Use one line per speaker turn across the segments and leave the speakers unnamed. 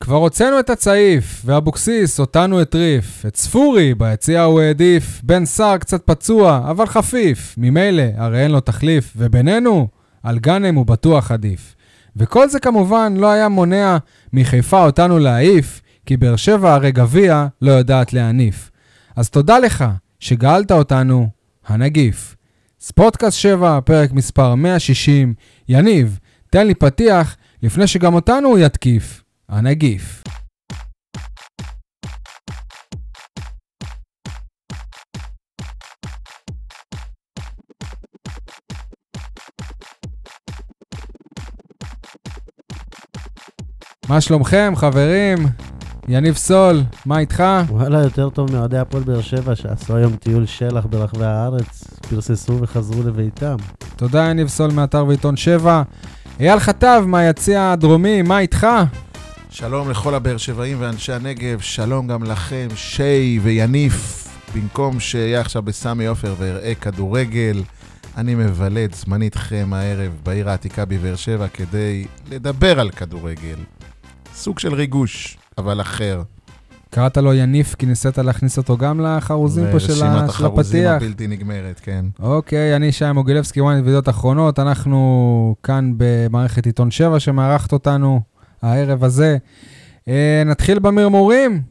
כבר הוצאנו את הצעיף, ואבוקסיס אותנו הטריף. את ספורי ביציע הוא העדיף, בן סער קצת פצוע, אבל חפיף. ממילא, הרי אין לו תחליף, ובינינו, על גאנם הוא בטוח עדיף. וכל זה כמובן לא היה מונע מחיפה אותנו להעיף, כי באר שבע הרי גביע לא יודעת להניף. אז תודה לך שגאלת אותנו, הנגיף. ספורטקאסט 7, פרק מספר 160. יניב, תן לי פתיח לפני שגם אותנו הוא יתקיף. הנגיף. מה שלומכם, חברים? יניב סול, מה איתך?
וואלה, יותר טוב מאוהדי הפועל באר שבע שעשו היום טיול שלח ברחבי הארץ, פרססו וחזרו לביתם.
תודה, יניב סול מאתר ועיתון 7. אייל חטב מהיציע הדרומי, מה איתך?
שלום לכל הבאר שבעים ואנשי הנגב, שלום גם לכם, שי ויניף. במקום שאהיה עכשיו בסמי עופר ואראה כדורגל, אני מבלה את זמני איתכם הערב בעיר העתיקה בבאר שבע כדי לדבר על כדורגל. סוג של ריגוש, אבל אחר.
קראת לו יניף כי ניסית להכניס אותו גם לחרוזים פה של ה-
ורשימת
של
החרוזים
הפתיח.
הבלתי נגמרת, כן.
אוקיי, אני שי מוגילבסקי, וואן ידיעות אחרונות. אנחנו כאן במערכת עיתון 7 שמארחת אותנו הערב הזה. אה, נתחיל במרמורים.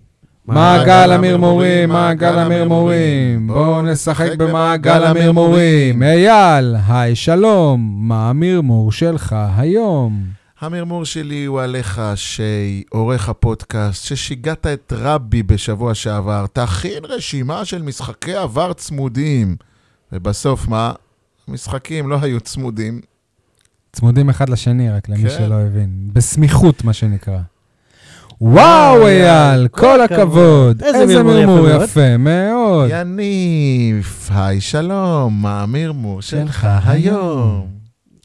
מעגל המרמורים, מעגל המרמורים, בואו נשחק במעגל המרמורים. אייל, היי שלום, מה המרמור שלך היום?
המרמור שלי הוא עליך, שי, עורך הפודקאסט, ששיגעת את רבי בשבוע שעבר. תכין רשימה של משחקי עבר צמודים. ובסוף מה? המשחקים לא היו צמודים.
צמודים אחד לשני, רק למי
כן.
שלא הבין. בסמיכות, מה שנקרא. וואו, אייל, כל הכבוד.
איזה
איזה
מרמור יפה
מרמור
מאוד.
יפה מאוד.
יניף, היי שלום, מה המרמור שלך כן. היום?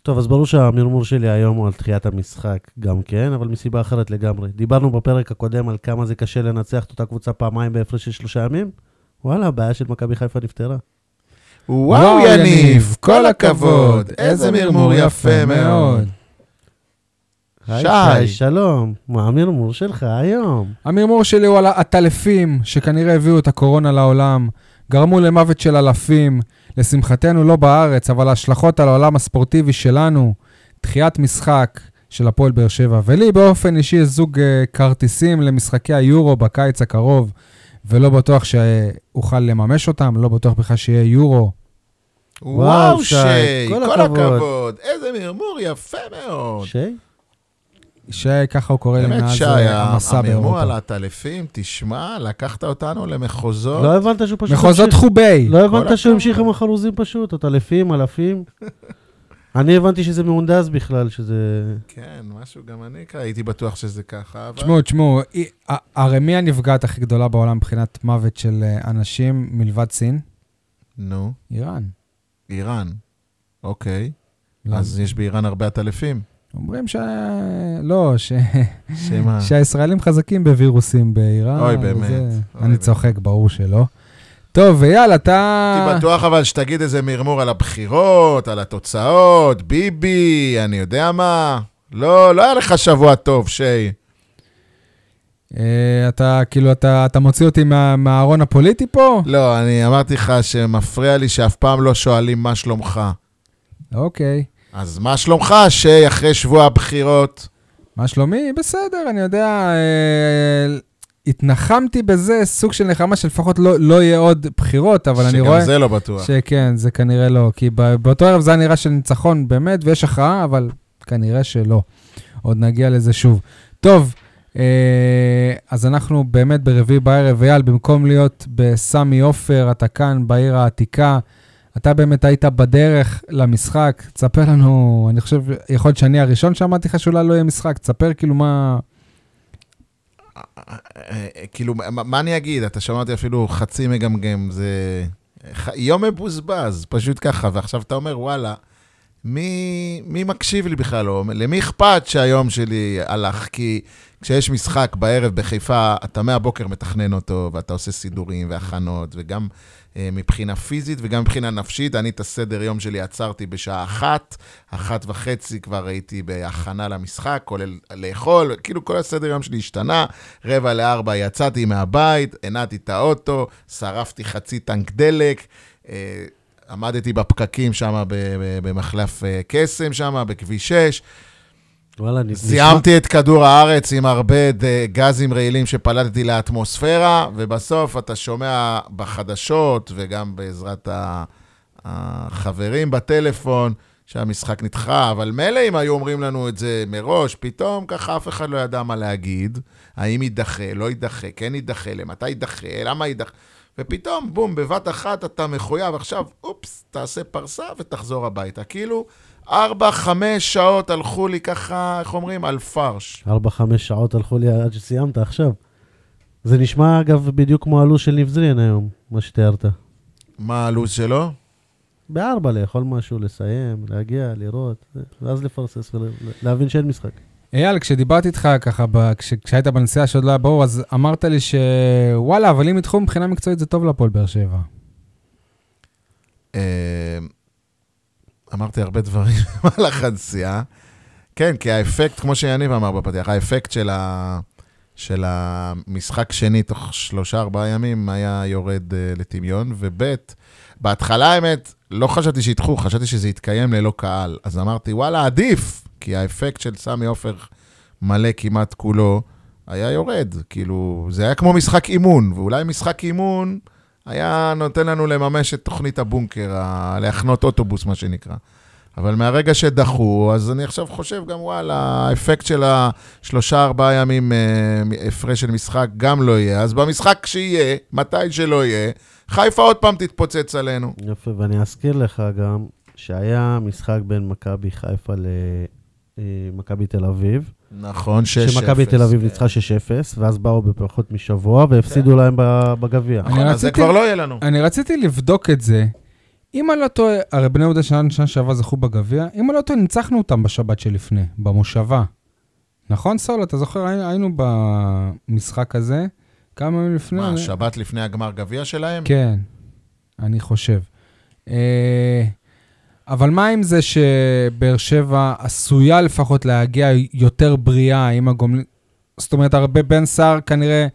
טוב, אז ברור שהמרמור שלי היום הוא על דחיית המשחק גם כן, אבל מסיבה אחרת לגמרי. דיברנו בפרק הקודם על כמה זה קשה לנצח את אותה קבוצה פעמיים בהפרש של שלושה ימים. וואלה, הבעיה של מכבי חיפה נפתרה.
וואו, יניף, כל הכבוד, איזה מרמור יפה מאוד.
היי,
שי.
שלום, מה המרמור שלך היום?
המרמור שלי הוא על הטלפים שכנראה הביאו את הקורונה לעולם, גרמו למוות של אלפים, לשמחתנו לא בארץ, אבל ההשלכות על העולם הספורטיבי שלנו, דחיית משחק של הפועל באר שבע. ולי באופן אישי יש זוג אה, כרטיסים למשחקי היורו בקיץ הקרוב, ולא בטוח שאוכל לממש אותם, לא בטוח בכלל שיהיה יורו.
וואו,
שי,
שי,
כל
כל
הכבוד.
הכבוד, איזה מרמור יפה מאוד.
שי?
שככה הוא קורא לי
באמת,
מאז
שי,
אה, המסע
המרמור על
באירופה.
העטלפים, תשמע, לקחת אותנו למחוזות.
לא הבנת שהוא פשוט...
מחוזות
המשיך-
חובי.
לא הבנת
הכבוד.
שהוא המשיך עם החרוזים פשוט, עוד אלפים, אלפים. אני הבנתי שזה מהונדס בכלל, שזה...
כן, משהו גם אני כ- הייתי בטוח שזה ככה, אבל...
תשמעו, תשמעו, אי- ה- הרי מי הנפגעת הכי גדולה בעולם מבחינת מוות של אה, אנשים מלבד סין?
נו,
איראן.
איראן. אוקיי.
לא,
אז יש באיראן הרבה עטלפים.
אומרים ש... לא, ש...
שמה?
שהישראלים חזקים בווירוסים באיראן.
אוי, באמת.
וזה-
אוי,
אני
באמת.
צוחק, ברור שלא. טוב, אייל, אתה...
הייתי בטוח אבל שתגיד איזה מרמור על הבחירות, על התוצאות, ביבי, אני יודע מה. לא, לא היה לך שבוע טוב, שי.
אה, אתה, כאילו, אתה אתה מוציא אותי מה- מהארון הפוליטי פה?
לא, אני אמרתי לך שמפריע לי שאף פעם לא שואלים מה שלומך.
אוקיי.
אז מה שלומך, שי, אחרי שבוע הבחירות?
מה שלומי? בסדר, אני יודע, אה, התנחמתי בזה סוג של נחמה שלפחות לא לא יהיה עוד בחירות, אבל אני רואה...
שגם זה לא בטוח.
שכן, זה כנראה לא, כי ב- באותו ערב זה היה נראה של ניצחון באמת, ויש הכרעה, אבל כנראה שלא. עוד נגיע לזה שוב. טוב, אה, אז אנחנו באמת ברביעי בערב, אייל, במקום להיות בסמי עופר, אתה כאן בעיר העתיקה. אתה באמת היית בדרך למשחק, תספר לנו, אני חושב, יכול להיות שאני הראשון שאמרתי לך שאולי לא יהיה משחק, תספר כאילו מה...
אה, אה, כאילו, מה- מה אני אגיד? אתה שמעתי אפילו חצי מגמגם, זה ח- יום מבוזבז, פשוט ככה, ועכשיו אתה אומר, וואלה, מי, מי מקשיב לי בכלל? או למי אכפת שהיום שלי הלך? כי כשיש משחק בערב בחיפה, אתה מהבוקר מתכנן אותו, ואתה עושה סידורים והכנות, וגם אה, מבחינה פיזית וגם מבחינה נפשית. אני את הסדר יום שלי עצרתי בשעה אחת, אחת וחצי כבר הייתי בהכנה למשחק, כולל לאכול, כאילו כל הסדר יום שלי השתנה. רבע לארבע יצאתי מהבית, הנעתי את האוטו, שרפתי חצי טנק דלק. אה, עמדתי בפקקים שם ב- ב- במחלף אה, קסם שם, בכביש 6.
וואלה, נ- נשמע-
סיימתי את כדור הארץ עם הרבה ד- גזים רעילים שפלטתי לאטמוספירה, ובסוף אתה שומע בחדשות, וגם בעזרת ה- החברים בטלפון, שהמשחק נדחה, אבל מילא אם היו אומרים לנו את זה מראש, פתאום ככה אף אחד לא ידע מה להגיד, האם יידחה, לא יידחה, כן יידחה, למתי יידחה, למה יידחה, ופתאום, בום, בבת אחת אתה מחויב, עכשיו, אופס, תעשה פרסה ותחזור הביתה. כאילו, ארבע, חמש שעות הלכו לי ככה, איך אומרים? על פרש.
ארבע, חמש שעות הלכו לי עד שסיימת עכשיו. זה נשמע, אגב, בדיוק כמו הלו"ז של ניב זרין היום, מה שתיארת.
מה הלו"ז שלו?
בארבע לאכול משהו, לסיים, להגיע, לראות, ואז לפרסס ולהבין שאין משחק.
אייל, כשדיברתי איתך ככה, ב- כש- כשהיית בנסיעה שעוד לא היה ברור, אז אמרת לי שוואלה, אבל אם ידחו מבחינה מקצועית זה טוב להפועל באר שבע.
אה, אמרתי הרבה דברים במהלך הנסיעה. כן, כי האפקט, כמו שיניב אמר בפתיח, האפקט של, ה... של המשחק שני תוך שלושה-ארבעה ימים היה יורד אה, לטמיון, וב' בהתחלה, האמת, לא חשבתי שידחו, חשבתי שזה יתקיים ללא קהל. אז אמרתי, וואלה, עדיף, כי האפקט של סמי עופר מלא כמעט כולו היה יורד. כאילו, זה היה כמו משחק אימון, ואולי משחק אימון היה נותן לנו לממש את תוכנית הבונקר, ה... להחנות אוטובוס, מה שנקרא. אבל מהרגע שדחו, אז אני עכשיו חושב גם, וואלה, האפקט של השלושה-ארבעה ימים אה, הפרש של משחק גם לא יהיה. אז במשחק שיהיה, מתי שלא יהיה, חיפה עוד פעם תתפוצץ עלינו.
יפה, ואני אזכיר לך גם שהיה משחק בין מכבי חיפה למכבי תל אביב,
נכון, 6-0.
שמכבי תל אביב ניצחה 6-0, ואז באו בפחות משבוע והפסידו להם ב- בגביע.
אני
נכון, אז זה
רציתי-
כבר לא יהיה לנו.
אני רציתי לבדוק את זה. אם אני לא טועה, הרי בני יהודה שנה שנה שעברה זכו בגביע, אם אני לא טועה, ניצחנו אותם בשבת שלפני, במושבה. נכון, סול? אתה זוכר? היינו- היינו במשחק הזה, כמה ימים לפני.
מה,
אני-
שבת לפני הגמר גביע שלהם?
כן, אני חושב. אה, אבל מה עם זה שבאר שבע עשויה לפחות להגיע יותר בריאה עם הגומלין? זאת אומרת, הרבה בן סער כנראה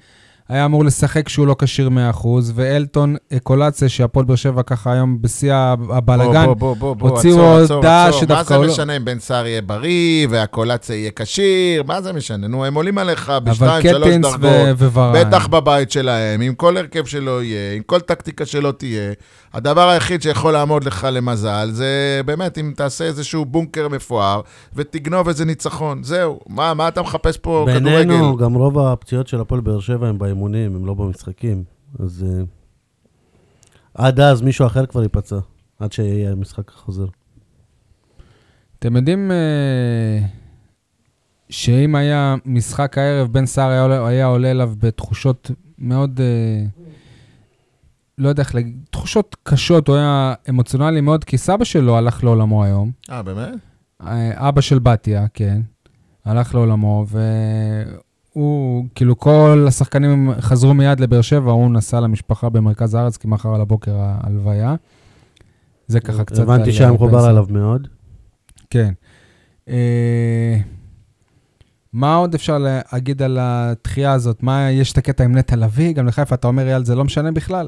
היה אמור לשחק כשהוא לא כשיר 100%, ואלטון אה, קולציה, שהפועל באר שבע ככה היום בשיא הבלגן,
בוא, בוא, בוא, בוא,
הוציאו
עצור, עצור,
הודעה
עצור.
שדווקא
מה
הוא
זה
לא-
משנה אם בן סער יהיה בריא, והקולציה יהיה כשיר? מה זה משנה? נו, הם עולים עליך
אבל
בשתיים, שלוש
קטינס
דרגות.
ו- וברן.
בטח בבית שלהם, עם כל הרכב שלא יהיה, עם כל טקטיקה שלא תהיה. הדבר היחיד שיכול לעמוד לך למזל, זה באמת אם תעשה איזשהו בונקר מפואר ותגנוב איזה ניצחון. זהו, מה, מה אתה מחפש פה כדורגל?
בינינו, גם רוב הפציעות של הפועל באר שבע הם באימונים, הם לא במשחקים. אז אה, עד אז מישהו אחר כבר ייפצע, עד שיהיה המשחק חוזר.
אתם יודעים אה, שאם היה משחק הערב, בן סער היה, עולה- היה עולה אליו בתחושות מאוד, אה, לא יודע איך להגיד, תחושות קשות, הוא היה אמוציונלי מאוד, כי סבא שלו הלך לעולמו היום.
אה, באמת?
אה, אבא של בתיה, כן, הלך לעולמו, והוא, כאילו, כל השחקנים חזרו מיד לבאר שבע, הוא נסע למשפחה במרכז הארץ, כי מחר על הבוקר ההלוויה. זה ככה קצת...
הבנתי
על-
שהיה
על בן
מחובר
סער.
עליו מאוד.
כן. אה, מה עוד אפשר להגיד על הדחייה הזאת? מה, יש את הקטע עם נטע לביא, גם לחיפה, אתה אומר, יאללה, זה לא משנה בכלל?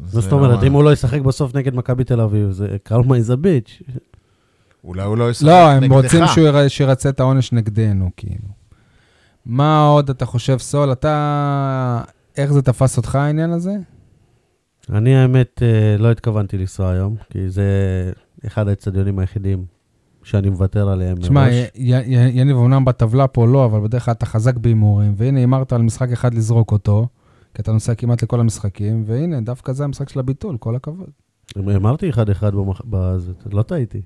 מה
זה
זאת אומרת,
נורא.
אם הוא לא ישחק בסוף נגד מכבי תל אביב, זה קרמה איז הביץ'.
אולי הוא לא ישחק
לא, הם
נגדך.
רוצים שהוא יר- שירצה את העונש נגדנו, כאילו. מה עוד אתה חושב, סול? אתה... איך זה תפס אותך העניין הזה?
אני האמת אה, לא התכוונתי לנסוע היום, כי זה אחד האצטדיונים היחידים שאני מוותר עליהם
תשמע,
מראש.
י- י- יניב אומנם בטבלה פה לא, אבל בדרך כלל אתה חזק בהימורים, והנה הימרת על משחק אחד לזרוק אותו, כי אתה נוסע כמעט לכל המשחקים, והנה, דווקא זה המשחק של הביטול, כל הכבוד.
אמרתי אחד אחד במח... בזה, לא טעיתי.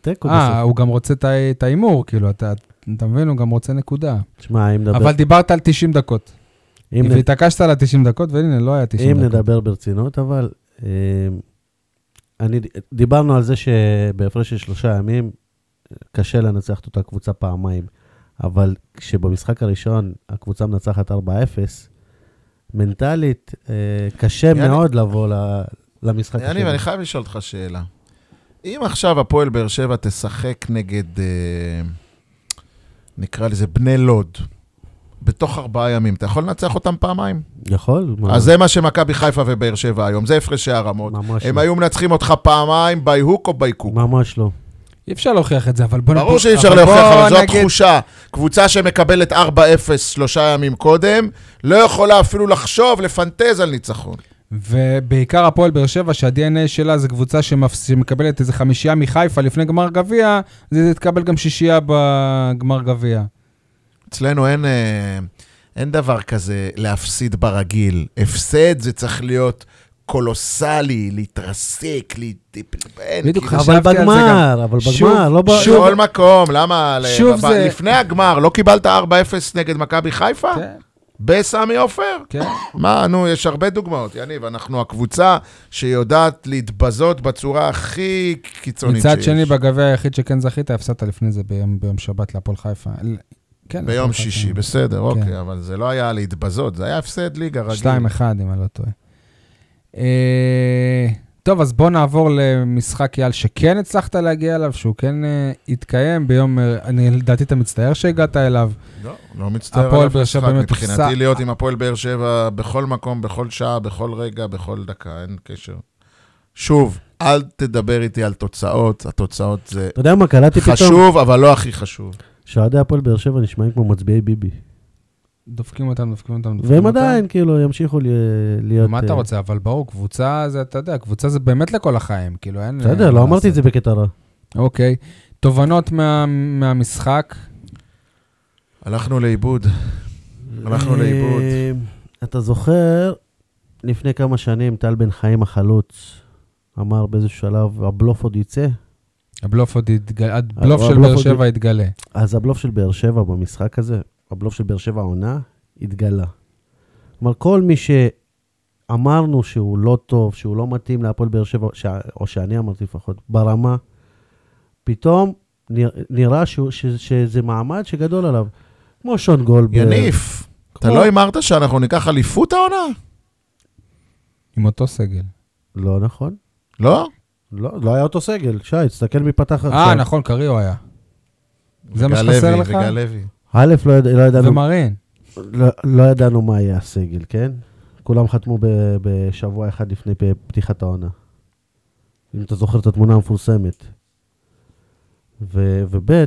תיקו
אה,
בסוף.
הוא גם רוצה את ה- את ההימור, כאילו, אתה אתה מבין? הוא גם רוצה נקודה.
תשמע, אם נדבר...
אבל דיברת על 90 דקות.
אם נ-
והתעקשת על ה-90 דקות, והנה, לא היה 90
אם
דקות.
נדבר ברצינות, אבל אמ, אני, דיברנו על זה שבהפרש של שלושה ימים, קשה לנצח את אותה קבוצה פעמיים, אבל כשבמשחק הראשון הקבוצה מנצחת 4-0, מנטלית אה, קשה
יאללה.
מאוד לבוא ל- למשחק השני.
יניב, אני חייב לשאול אותך שאלה. אם עכשיו הפועל באר שבע תשחק נגד, אה, נקרא לזה בני לוד, בתוך ארבעה ימים, אתה יכול לנצח אותם פעמיים?
יכול? מה-
אז זה מה שמכבי חיפה ובאר שבע היום, זה הפרשי הרמות.
ממש
הם
לא.
היו מנצחים אותך פעמיים בי הוק או בי קוק.
ממש לא.
אי אפשר להוכיח את זה, אבל בוא...
ברור שאי אפשר
אבל
להוכיח,
בוא
אבל זו
נגיד-
התחושה. קבוצה שמקבלת 4-0 שלושה ימים קודם, לא יכולה אפילו לחשוב, לפנטז על ניצחון.
ובעיקר הפועל באר שבע, שה-DNA שלה זה קבוצה שמפס... שמקבלת איזה חמישייה מחיפה לפני גמר גביע, אז היא תקבל גם שישייה בגמר גביע.
אצלנו אין, אה, אין דבר כזה להפסיד ברגיל. הפסד זה צריך להיות קולוסלי, להתרסק, להטיפ... אין,
בדיוק,
כאילו,
חשבתי
אבל
על זה גם.
בגמר, אבל
שוב,
בגמר, לא ב...
שוב,
בכל מקום, למה?
שוב
שוב
זה-
זה... לפני הגמר, לא קיבלת 4-0 נגד מכבי חיפה?
כן,
בסמי עופר?
כן.
מה, נו, יש הרבה דוגמאות, יניב. אנחנו הקבוצה שיודעת להתבזות בצורה הכי קיצונית שיש.
מצד שני, בגביע היחיד שכן זכית, הפסדת לפני זה ביום, ביום שבת להפועל חיפה. אל- כן,
ביום
להפועל
שישי,
חיפה. כן.
בסדר, אוקיי, אבל זה לא היה להתבזות, זה היה הפסד ליגה רגיל.
2-1, אם אני לא טועה. אה, טוב, אז בואו נעבור למשחק יעל שכן הצלחת להגיע אליו, שהוא כן אה, התקיים ביום, אה, אני לדעתי אתה מצטער שהגעת אליו.
לא, לא מצטער
הפועל
על
באר
אף
שבע
משחק.
באמת הופסע.
מבחינתי להיות עם הפועל באר שבע בכל מקום, בכל שעה, בכל רגע, בכל דקה, אין קשר. שוב, אל תדבר איתי על תוצאות, התוצאות זה
אתה יודע מה, קלטתי פתאום
חשוב, אבל לא הכי חשוב.
שאוהדי הפועל באר שבע נשמעים כמו מצביעי ביבי.
דופקים אותם, דופקים אותם, דופקים
לא
והם
אותם.
עדיין, כאילו, ימשיכו ל- להיות...
מה אתה
אה,
רוצה? אבל ברור, קבוצה זה, אתה יודע, קבוצה זה באמת לכל החיים, כאילו אין...
בסדר,
אה,
לא
מה
אמרתי את זה בקטע רע.
לעשות. אוקיי. תובנות מה- מהמשחק,
הלכנו לאיבוד. הלכנו
אה,
לאיבוד.
אתה זוכר, לפני כמה שנים טל בן חיים החלוץ אמר באיזשהו שלב, הבלוף עוד יצא?
הבלוף עוד יתגלה, הבלוף של
הבלוף
באר
עוד-
שבע יתגלה.
אז הבלוף של באר שבע במשחק הזה, הבלוף של באר שבע העונה, התגלה. כלומר, כל מי שאמרנו שהוא לא טוב, שהוא לא מתאים להפועל באר שבע, ש... או שאני אמרתי לפחות, ברמה, פתאום נרא- נראה שהוא, ש... שזה מעמד שגדול עליו. כמו שון גולדברג.
יניף, אתה
כמו-
לא הימרת שאנחנו ניקח אליפות העונה?
עם אותו סגל.
לא נכון.
לא?
לא, לא היה אותו סגל, שי, תסתכל מי פתח עכשיו.
אה, נכון, קריו היה. זה מה
וגל
שחסר
לוי,
לך?
וגל לוי.
א', לא, יד... לא, ידענו,
ומרין.
לא, לא ידענו מה יהיה הסגל, כן? כולם חתמו ב... בשבוע אחד לפני פ- פתיחת העונה. אם אתה זוכר את התמונה המפורסמת. ו... וב',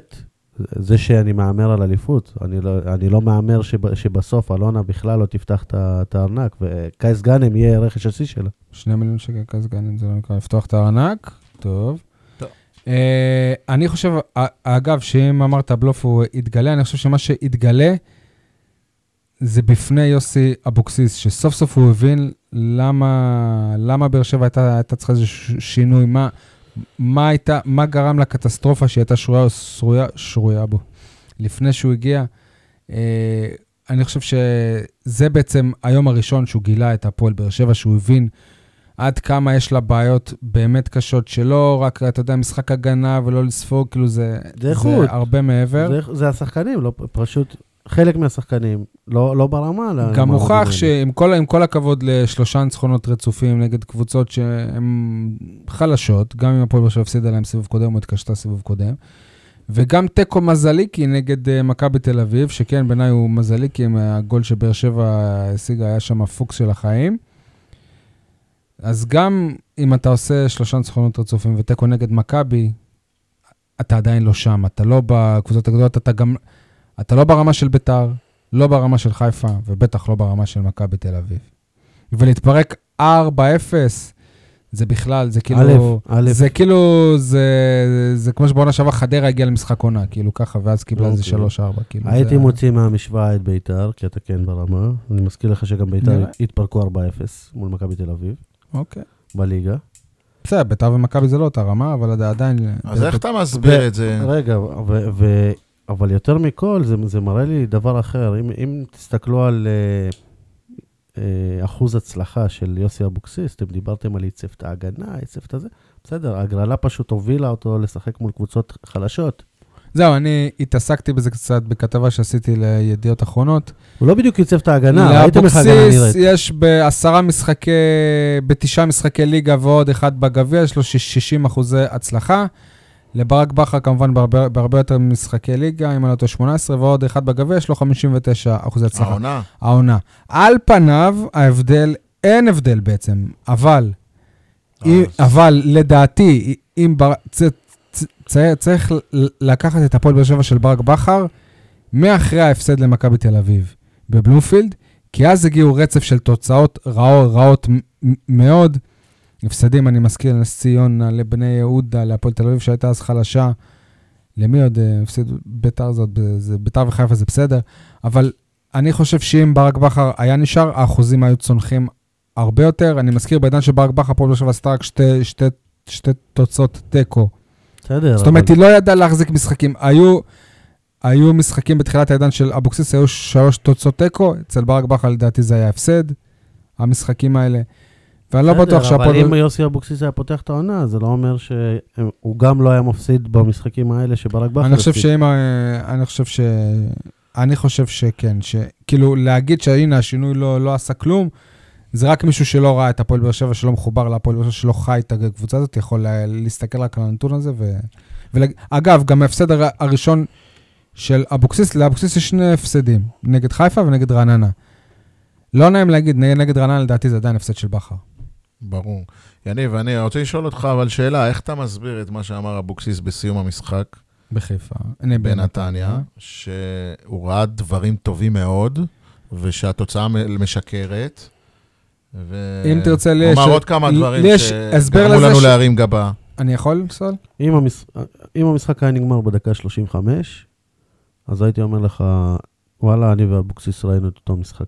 זה שאני מהמר על אליפות, אני לא, אני לא מהמר שב... שבסוף אלונה בכלל לא תפתח את ה- את הארנק, וקייס גאנם יהיה רכש השיא שלה.
שני מיליון שקל כסגנים, זה לא נקרא לפתוח את הארנק, טוב.
טוב.
אה, אני חושב, א- אגב, שאם אמרת בלוף הוא יתגלה, אני חושב שמה שיתגלה זה בפני יוסי אבוקסיס, שסוף סוף הוא הבין למה, למה באר שבע הייתה, הייתה צריכה איזה ש- שינוי, מה, מה, הייתה, מה גרם לקטסטרופה שהייתה שרויה, שרויה, שרויה בו לפני שהוא הגיע. אה, אני חושב שזה בעצם היום הראשון שהוא גילה את הפועל באר שבע, שהוא הבין עד כמה יש לה בעיות באמת קשות, שלא רק, אתה יודע, משחק הגנה ולא לספוג, כאילו זה,
זה איכות.
הרבה מעבר.
זה, זה השחקנים, לא, פשוט חלק מהשחקנים לא, לא ברמה.
גם
למה
הוכח
אומרים.
שעם כל, עם כל הכבוד לשלושה ניצחונות רצופים נגד קבוצות שהן חלשות, גם אם הפועל באר שבע הפסידה להם סיבוב קודם או התקשתה סיבוב קודם, וגם תיקו מזליקי נגד אה, מכבי תל אביב, שכן בעיניי הוא מזליקי, עם הגול שבאר שבע השיגה, היה שם הפוקס של החיים. אז גם אם אתה עושה שלושה ניצחונות רצופים ותיקו נגד מכבי, אתה עדיין לא שם, אתה לא בקבוצות הגדולות, אתה גם... אתה לא ברמה של ביתר, לא ברמה של חיפה, ובטח לא ברמה של מכבי תל אביב. ולהתפרק 4-0, זה בכלל, זה כאילו...
א', א',
זה כאילו, זה, זה כמו שבעונה שעברה חדרה הגיעה למשחק עונה, כאילו ככה, ואז קיבלה איזה
אוקיי.
3-4, כאילו.
הייתי
זה...
מוציא מהמשוואה את ביתר, כי אתה כן ברמה. אני מזכיר לך שגם ביתר
נראה.
התפרקו 4-0 מול מכבי תל אביב,
אוקיי.
בליגה.
בסדר, ביתר ומכבי זה לא אותה רמה, אבל עד- עדיין...
אז איך אתה מסביר את
כן.
זה?
רגע, ו- ו- אבל יותר מכל, זה, זה מראה לי דבר אחר. אם, אם תסתכלו על אה, אה, אחוז הצלחה של יוסי אבוקסיס, אתם דיברתם על עיצב את ההגנה, עיצב את הזה, בסדר, הגרלה פשוט הובילה אותו לשחק מול קבוצות חלשות.
זהו, אני התעסקתי בזה קצת בכתבה שעשיתי לידיעות אחרונות.
הוא לא בדיוק ייצב את ההגנה, ראיתם איך ההגנה
לאבוקסיס
נראית.
יש בעשרה משחקי, בתשעה משחקי ליגה ועוד אחד בגביע, יש לו 60 אחוזי הצלחה. לברק בכר כמובן בהרבה, בהרבה יותר משחקי ליגה, אם אני לא טועה 18, ועוד אחד בגביע, יש לו 59 אחוזי הצלחה.
העונה.
העונה. על פניו, ההבדל, אין הבדל בעצם, אבל, אם, אבל לדעתי, אם בר, צ, צ, צ, צריך ל- לקחת את הפועל באר שבע של ברק בכר, מאחרי ההפסד למכבי תל אביב בבלומפילד, כי אז הגיעו רצף של תוצאות רעות, רעות מ- מאוד. הפסדים, אני מזכיר, לנס ציונה, לבני יהודה, להפועל תל אביב, שהייתה אז חלשה. למי עוד אה, הפסיד? ביתר זאת, זה- ביתר וחיפה זה בסדר. אבל אני חושב שאם ברק בכר היה נשאר, האחוזים היו צונחים הרבה יותר. אני מזכיר, בעידן של ברק בכר פה בשבוע עשתה רק שתי, שתי, שתי תוצאות תיקו.
בסדר.
זאת אומרת,
אבל-
היא לא ידעה להחזיק משחקים. היו, היו משחקים בתחילת העידן של אבוקסיס, היו שלוש תוצאות תיקו, אצל ברק בכר לדעתי זה היה הפסד, המשחקים האלה. ואני לא
בסדר,
בטוח שהפועל...
אבל אם יוסי אבוקסיס היה פותח את העונה, זה לא אומר שהוא גם לא היה מפסיד במשחקים האלה שברק בכר
אני חושב
הפסיד.
שאם... ה- אני חושב ש... אני חושב שכן, שכאילו להגיד שהנה השינוי לא, לא עשה כלום, זה רק מישהו שלא ראה את הפועל באר שבע, שלא מחובר להפועל באר שבע, שלא חי את הקבוצה הזאת, יכול לה- להסתכל רק על הנתון הזה. ו... ולג... אגב, גם ההפסד הר... הראשון של אבוקסיס, לאבוקסיס יש שני הפסדים, נגד חיפה ונגד רעננה. לא נעים להגיד, נ- נגד רעננה לדעתי זה עדיין הפסד של בכר.
ברור. יניב, אני רוצה לשאול אותך אבל שאלה, איך אתה מסביר את מה שאמר אבוקסיס בסיום המשחק
בחיפה. הנה,
בנתניה, שהוא ראה דברים טובים מאוד, ושהתוצאה מ- משקרת, ו...
אם תרצה, לי
הוא
יש-
אמר עוד כמה
לי
דברים
יש הסבר
שגרמו
לזה
לנו
ש-
להרים גבה.
אני יכול לפסול?
אם המש- אם המשחק היה נגמר בדקה 35, אז הייתי אומר לך, וואלה, אני ואבוקסיס ראינו את אותו משחק.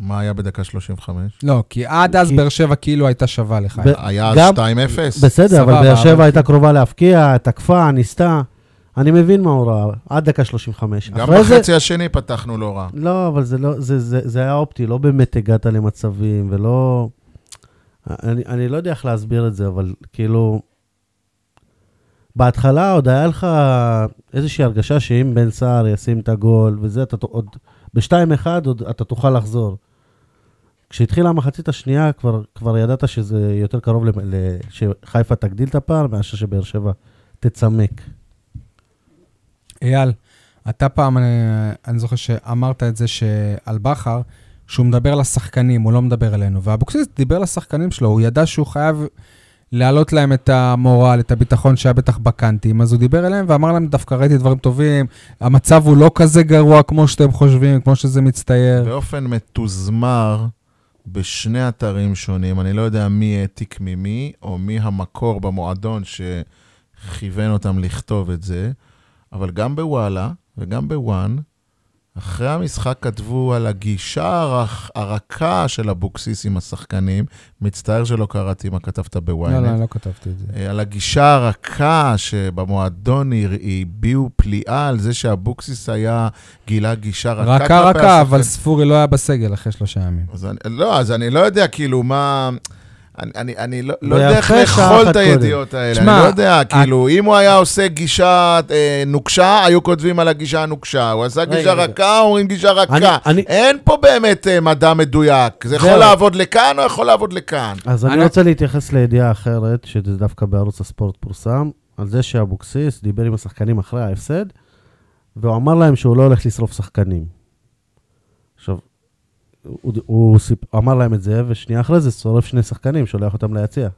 מה היה בדקה 35?
לא, כי עד אז
כי-
באר שבע כאילו הייתה שווה לך.
ב-
היה אז
גם-
2-0?
בסדר, אבל
סבבה,
באר
אבל
שבע
כן.
הייתה קרובה להפקיע, תקפה, ניסתה. אני מבין מה הוא ראה, עד דקה 35.
גם
אחרי זה-
בחצי השני פתחנו לא רע.
לא, אבל זה, לא, זה, זה, זה היה אופטי, לא באמת הגעת למצבים, ולא... אני, אני לא יודע איך להסביר את זה, אבל כאילו... בהתחלה עוד היה לך איזושהי הרגשה שאם בן סער ישים את הגול וזה, אתה ת- עוד... ב-2-1 עוד אתה תוכל לחזור. כשהתחילה המחצית השנייה, כבר, כבר ידעת שזה יותר קרוב, למ- ל- שחיפה תגדיל את הפער מאשר שבאר שבע תצמק.
אייל, אתה פעם, אה, אני זוכר שאמרת את זה שעל בכר, שהוא מדבר לשחקנים, הוא לא מדבר אלינו. ואבוקסיס דיבר לשחקנים שלו, הוא ידע שהוא חייב להעלות להם את המורל, את הביטחון שהיה בטח בקאנטים, אז הוא דיבר אליהם ואמר להם, דווקא ראיתי דברים טובים, המצב הוא לא כזה גרוע כמו שאתם חושבים, כמו שזה מצטייר.
באופן מתוזמר בשני אתרים שונים. אני לא יודע מי העתיק ממי, או מי המקור במועדון שכיוון אותם לכתוב את זה, אבל גם בוואלה וגם בוואן, אחרי המשחק כתבו על הגישה הרח, הרכה של אבוקסיס עם השחקנים. מצטער שלא קראתי מה כתבת
לא,
בוויינט.
לא, אני לא כתבתי את זה.
אה, על הגישה הרכה שבמועדון הר- הביעו פליאה על זה שאבוקסיס היה, גילה גישה רכה כלפי
רכה רכה, אבל
השחקנים.
ספורי לא היה בסגל אחרי שלושה ימים.
אז אני, לא, אז אני לא יודע כאילו מה... אני, אני, אני לא, לא יודע איך
ויפה שעה
לאכול
אחת
את
קודם.
הידיעות האלה,
תשמע,
אני לא יודע, כאילו, אם הוא היה עושה גישה אה, נוקשה, היו כותבים על הגישה הנוקשה, הוא עשה
רגע,
גישה
רגע.
רכה, אומרים גישה רכה.
אני- אני-
אין פה באמת אה, מדע מדויק, זה יכול
זהו.
לעבוד לכאן או יכול לעבוד לכאן.
אז אני
אני-
רוצה להתייחס לידיעה אחרת, שזה דווקא בערוץ הספורט פורסם, על זה שאבוקסיס דיבר עם השחקנים אחרי ההפסד, והוא אמר להם שהוא לא הולך לשרוף שחקנים. עכשיו, הוא, הוא סיפ... אמר להם את זה, ושנייה אחרי זה שורף שני שחקנים, שולח אותם ליציע.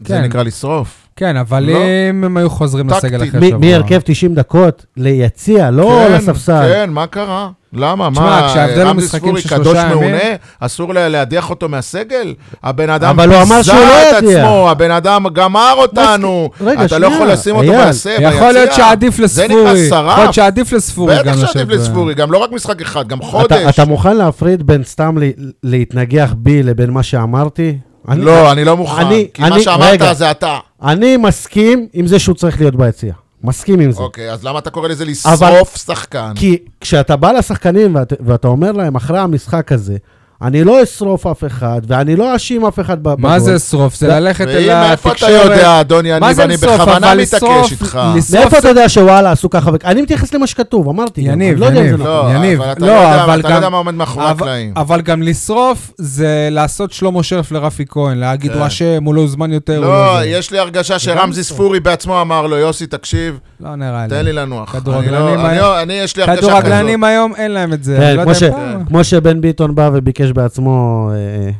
זה
כן.
נקרא לשרוף.
כן, אבל
לא.
אם הם היו חוזרים
טקטית.
לסגל אחרי
מ-
שבוע...
מהרכב 90 דקות ליציע, לא
כן,
לספסל.
כן, מה קרה? למה?
תשמע,
מה,
כשההבדל
רמזי
במשחקים
ספורי
של
קדוש
שלושה ימים-
מעונה? אסור לה- להדיח אותו מהסגל? הבן אדם
אבל הוא אמר שהוא לא
את
ידיח.
עצמו, הבן אדם גמר אותנו.
רגע,
אתה לא
שנייה,
יכול לשים אותו
אייל,
בהסב,
יכול להיות שעדיף
זה
לספורי.
נקרא
יכול להיות
שרף.
שעדיף לספורי גם
בטח שעדיף
לשבת ב-
לספורי, גם לא רק משחק אחד, גם
אתה,
חודש.
אתה מוכן להפריד בין סתם ל... להתנגח בי לבין מה שאמרתי? אני-
לא, אני לא מוכן,
אני-
כי מה
אני- רגע.
שאמרת זה אתה.
אני מסכים עם זה שהוא צריך להיות ביציע. מסכים עם זה.
אוקיי, אז למה אתה קורא לזה לשרוף שחקן?
כי כשאתה בא לשחקנים ואת, ואתה אומר להם, אחרי המשחק הזה, אני לא אשרוף אף אחד, ואני לא אשים אף אחד ב-
מה זה
בגול.
שרוף? זה
לא.
ללכת אל
ואם מאיפה אתה
התקשורת.
יודע, אדון יניב,
זה
אני
לשרוף?
בכוונה
אבל לשרוף-
מתעקש איתך.
לשרוף
מאיפה
זה-
אתה יודע שוואלה עשו ככה וככה? אני מתייחס למה שכתוב, אמרתי. גם,
יניב,
אני לא יודע אם
יניב.
זה נכון.
לא,
יניב,
אבל אתה
לא,
לא יודע-
אבל
אתה לא יודע
גם-
מה עומד מאחורי
אבל-
הקלעים.
אבל גם לשרוף זה לעשות שלמה שרף לרפי כהן, להגיד
כן.
הוא אשם, הוא לא הוזמן יותר. הוא
לא,
זה."
יש לי הרגשה
גם
שרמזי
טוב.
ספורי בעצמו אמר לו, יוסי, תקשיב,
לא נראה לי.
תן לי לנוח.
כדורגלנים
אני לא- אני
היה-
לא- אני, יש לי הרגשה כזאת.
כדורגלנים היום אין להם את זה.
כן,
אני לא
כמו
יודע
ש-
אם פעם.
כמו שבן ביטון בא וביקש בעצמו אה,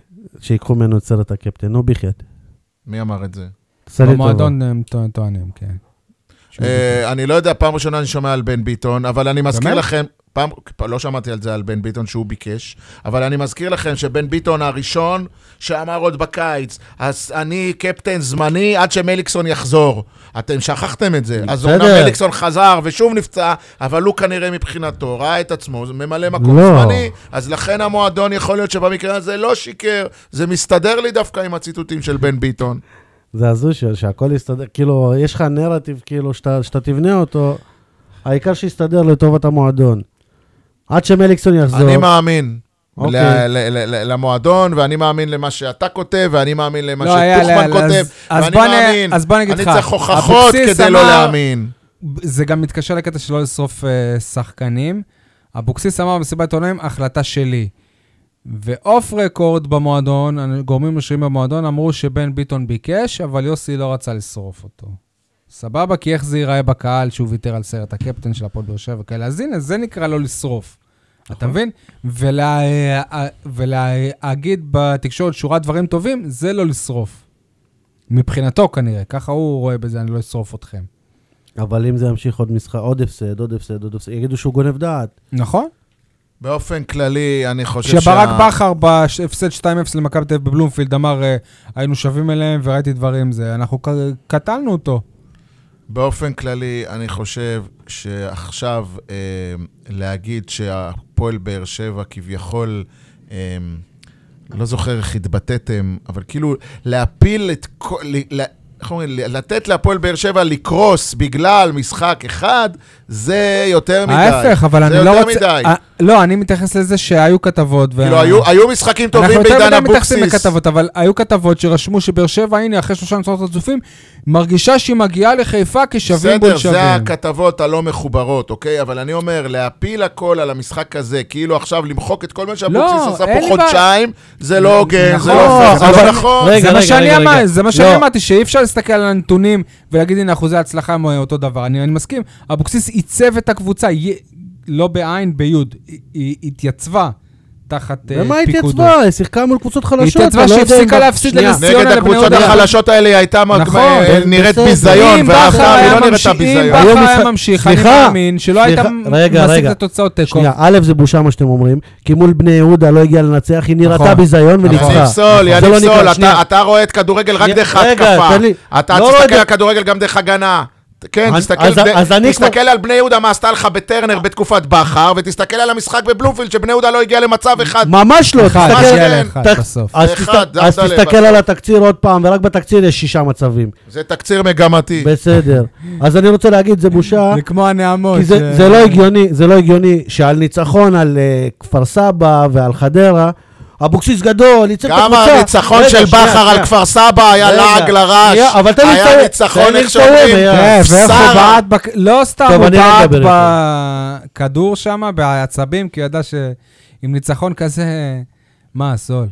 שיקחו ממנו את סרט הקפטן, נו בחייאת.
מי אמר את זה?
עשה לי טובה.
במועדון הם טוע- טוענים, כן. שהוא
אה, אני לא יודע, פעם ראשונה אני שומע על בן ביטון, אבל אני מזכיר
באמת?
לכם, פעם, לא שמעתי על זה על בן ביטון שהוא ביקש, אבל אני מזכיר לכם שבן ביטון הראשון שאמר עוד בקיץ, אז אני קפטן זמני עד שמליקסון יחזור. אתם שכחתם את זה. אז
בסדר.
אומנם מליקסון חזר ושוב נפצע, אבל הוא כנראה מבחינתו ראה את עצמו, זה ממלא מקום
לא.
זמני, אז לכן המועדון יכול להיות שבמקרה הזה לא שיקר, זה מסתדר לי דווקא עם הציטוטים של בן ביטון.
זה הזוי ש- שהכל יסתדר, כאילו, יש לך נרטיב, כאילו, שאתה שאתה תבנה אותו, העיקר שיסתדר לטובת המועדון. עד שמליקסון יחזור.
אני מאמין.
אוקיי.
ל- ל- ל- ל- למועדון, ואני מאמין למה שאתה כותב, ואני מאמין למה
לא, היה,
שטוחמן
לא,
כותב,
אז- אז
ואני
בוא נ-
מאמין.
אז בוא נגיד לך,
אני צריך הוכחות
אבוקסיס
כדי לא
אמר-
להאמין.
זה גם מתקשר לקטע שלא לשרוף אה, שחקנים. אבוקסיס אמר במסיבת עונאים, החלטה שלי. ואוף רקורד במועדון, גורמים רשמיים במועדון אמרו שבן ביטון ביקש, אבל יוסי לא רצה לשרוף אותו. סבבה, כי איך זה ייראה בקהל שהוא ויתר על סרט הקפטן של הפועל באר שבע וכאלה? אז הנה, זה נקרא לא לשרוף. אתה מבין? ולה- אה, ולהגיד בתקשורת שורת דברים טובים, זה לא לשרוף. מבחינתו כנראה, ככה הוא רואה בזה, אני לא אשרוף אתכם.
אבל אם זה ימשיך עוד משחק, עוד הפסד, עוד הפסד, עוד הפסד, יגידו שהוא גונב דעת.
נכון?
באופן כללי, אני חושב
כשברק בכר בהפסד 2-0 למכבי תל אביב בבלומפילד אמר, אה, היינו שווים אליהם וראיתי דברים זה, אנחנו ק- קטלנו אותו.
באופן כללי, אני חושב שעכשיו אה, להגיד שהפועל באר שבע כביכול, אה, לא זוכר איך התבטאתם, אבל כאילו להפיל את כל... ל- ל- איך אומרים? ל- לתת להפועל באר שבע לקרוס בגלל משחק אחד, זה יותר מדי.
ההפך, אבל
זה
אני לא
יותר
רוצה...
מדי.
אה, לא, אני מתייחס לזה שהיו כתבות. וה-
כאילו, היו- היו משחקים טובים
אנחנו
בעידן
יותר מדי מתייחסים
אבוקסיס.
לכתבות, אבל היו כתבות שרשמו שבאר שבע, הנה, אחרי שלושה ניצחונות רצופים, מרגישה שהיא מגיעה לחיפה כשווים
בסדר,
בול
זה
שווים.
הכתבות הלא מחוברות, אוקיי? אבל אני אומר, להפיל הכל על המשחק הזה, כאילו עכשיו למחוק את כל מה שאבוקסיס
לא,
עשה
אין
פה
לי
חודשיים, זה לא הוגן, זה
נכון,
לא פייר, זה
אבל-
לא נכון.
רגע,
זה
רגע,
מה שאני
רגע,
אמרתי,
רגע.
זה מה שאני
לא.
אמרתי, שאי אפשר להסתכל על הנתונים ולהגיד, הנה, אחוזי ההצלחה הם אותו דבר. אני אני מסכים, אבוקסיס עיצב את הקבוצה, י- לא בעין, ביוד, היא- היא התייצבה תחת אה, פיקודו.
ומה התייצבה? היא שיחקה מול קבוצות חלשות.
התייצבה
אתה לא יודע אם
שהפסיקה
ב-
להפסיד
שנייה,
לנס- ציונה
נגד
לבני
הקבוצות
יהודה.
החלשות האלה היא הייתה מג-
נכון,
אה,
אבל
נראית
בסדר.
ביזיון,
אם בכר
והפעם היא
היה
לא נראית
ממשיך- אם
ביזיון.
היה
בכר היה
משחק-
ממשיך, אני
סליחה,
מאמין שלא היית
סליחה, רגע,
משיג
רגע.
את התוצאות תיקו.
שנייה, א', זה בושה מה שאתם אומרים, כי מול בני יהודה לא הגיעה לנצח, היא נראתה
נכון.
ביזיון
יניב
וניצחה.
סול,
זה
יניב
לא נקרא-
סול,
שנייה.
אתה- אתה רואה את כדורגל רק
שנייה,
דרך
רגע,
ההתקפה.
תן לי-
אתה
לא
תסתכל
יודע.
על כדורגל גם דרך הגנה. כן,
אז-
תסתכל
אז-
ד-
אז אני
תסתכל על בני יהודה מה עשתה לך בטרנר בתקופת בכר, ותסתכל על המשחק בבלומפילד שבני יהודה לא הגיע למצב אחד.
ממש לא,
אחד,
תסתכל-
הגיע לאחד
ת-
בסוף.
אז
אחד,
תסת-
זה
אז
עשה לב,
תסתכל
עשה.
על התקציר עוד פעם, ורק בתקציר יש שישה מצבים.
זה תקציר מגמתי.
בסדר. אז אני רוצה להגיד, זה בושה.
זה כמו הנעמות. אה,
כי זה,
ש-
זה לא הגיוני, זה לא הגיוני שעל ניצחון על uh, כפר סבא ועל חדרה, אבוקסיס גדול, ייצר את
גם
הקבוצה.
הניצחון
רגע,
של
שנייה,
בכר על
שנייה.
כפר סבא היה
רגע,
לעג לרש.
שנייה, אבל תן לי
היה
לסיים, תן
ניצחון
לי
איך
לסיים,
שאומרים.
אה,
כן, ואיך הוא
שרה.
בעט, בק- לא סתם,
טוב,
הוא
אני רגע
בעט
אדבר
בכדור שם, בעצבים, כי הוא ידע שעם ניצחון כזה, מה, סול?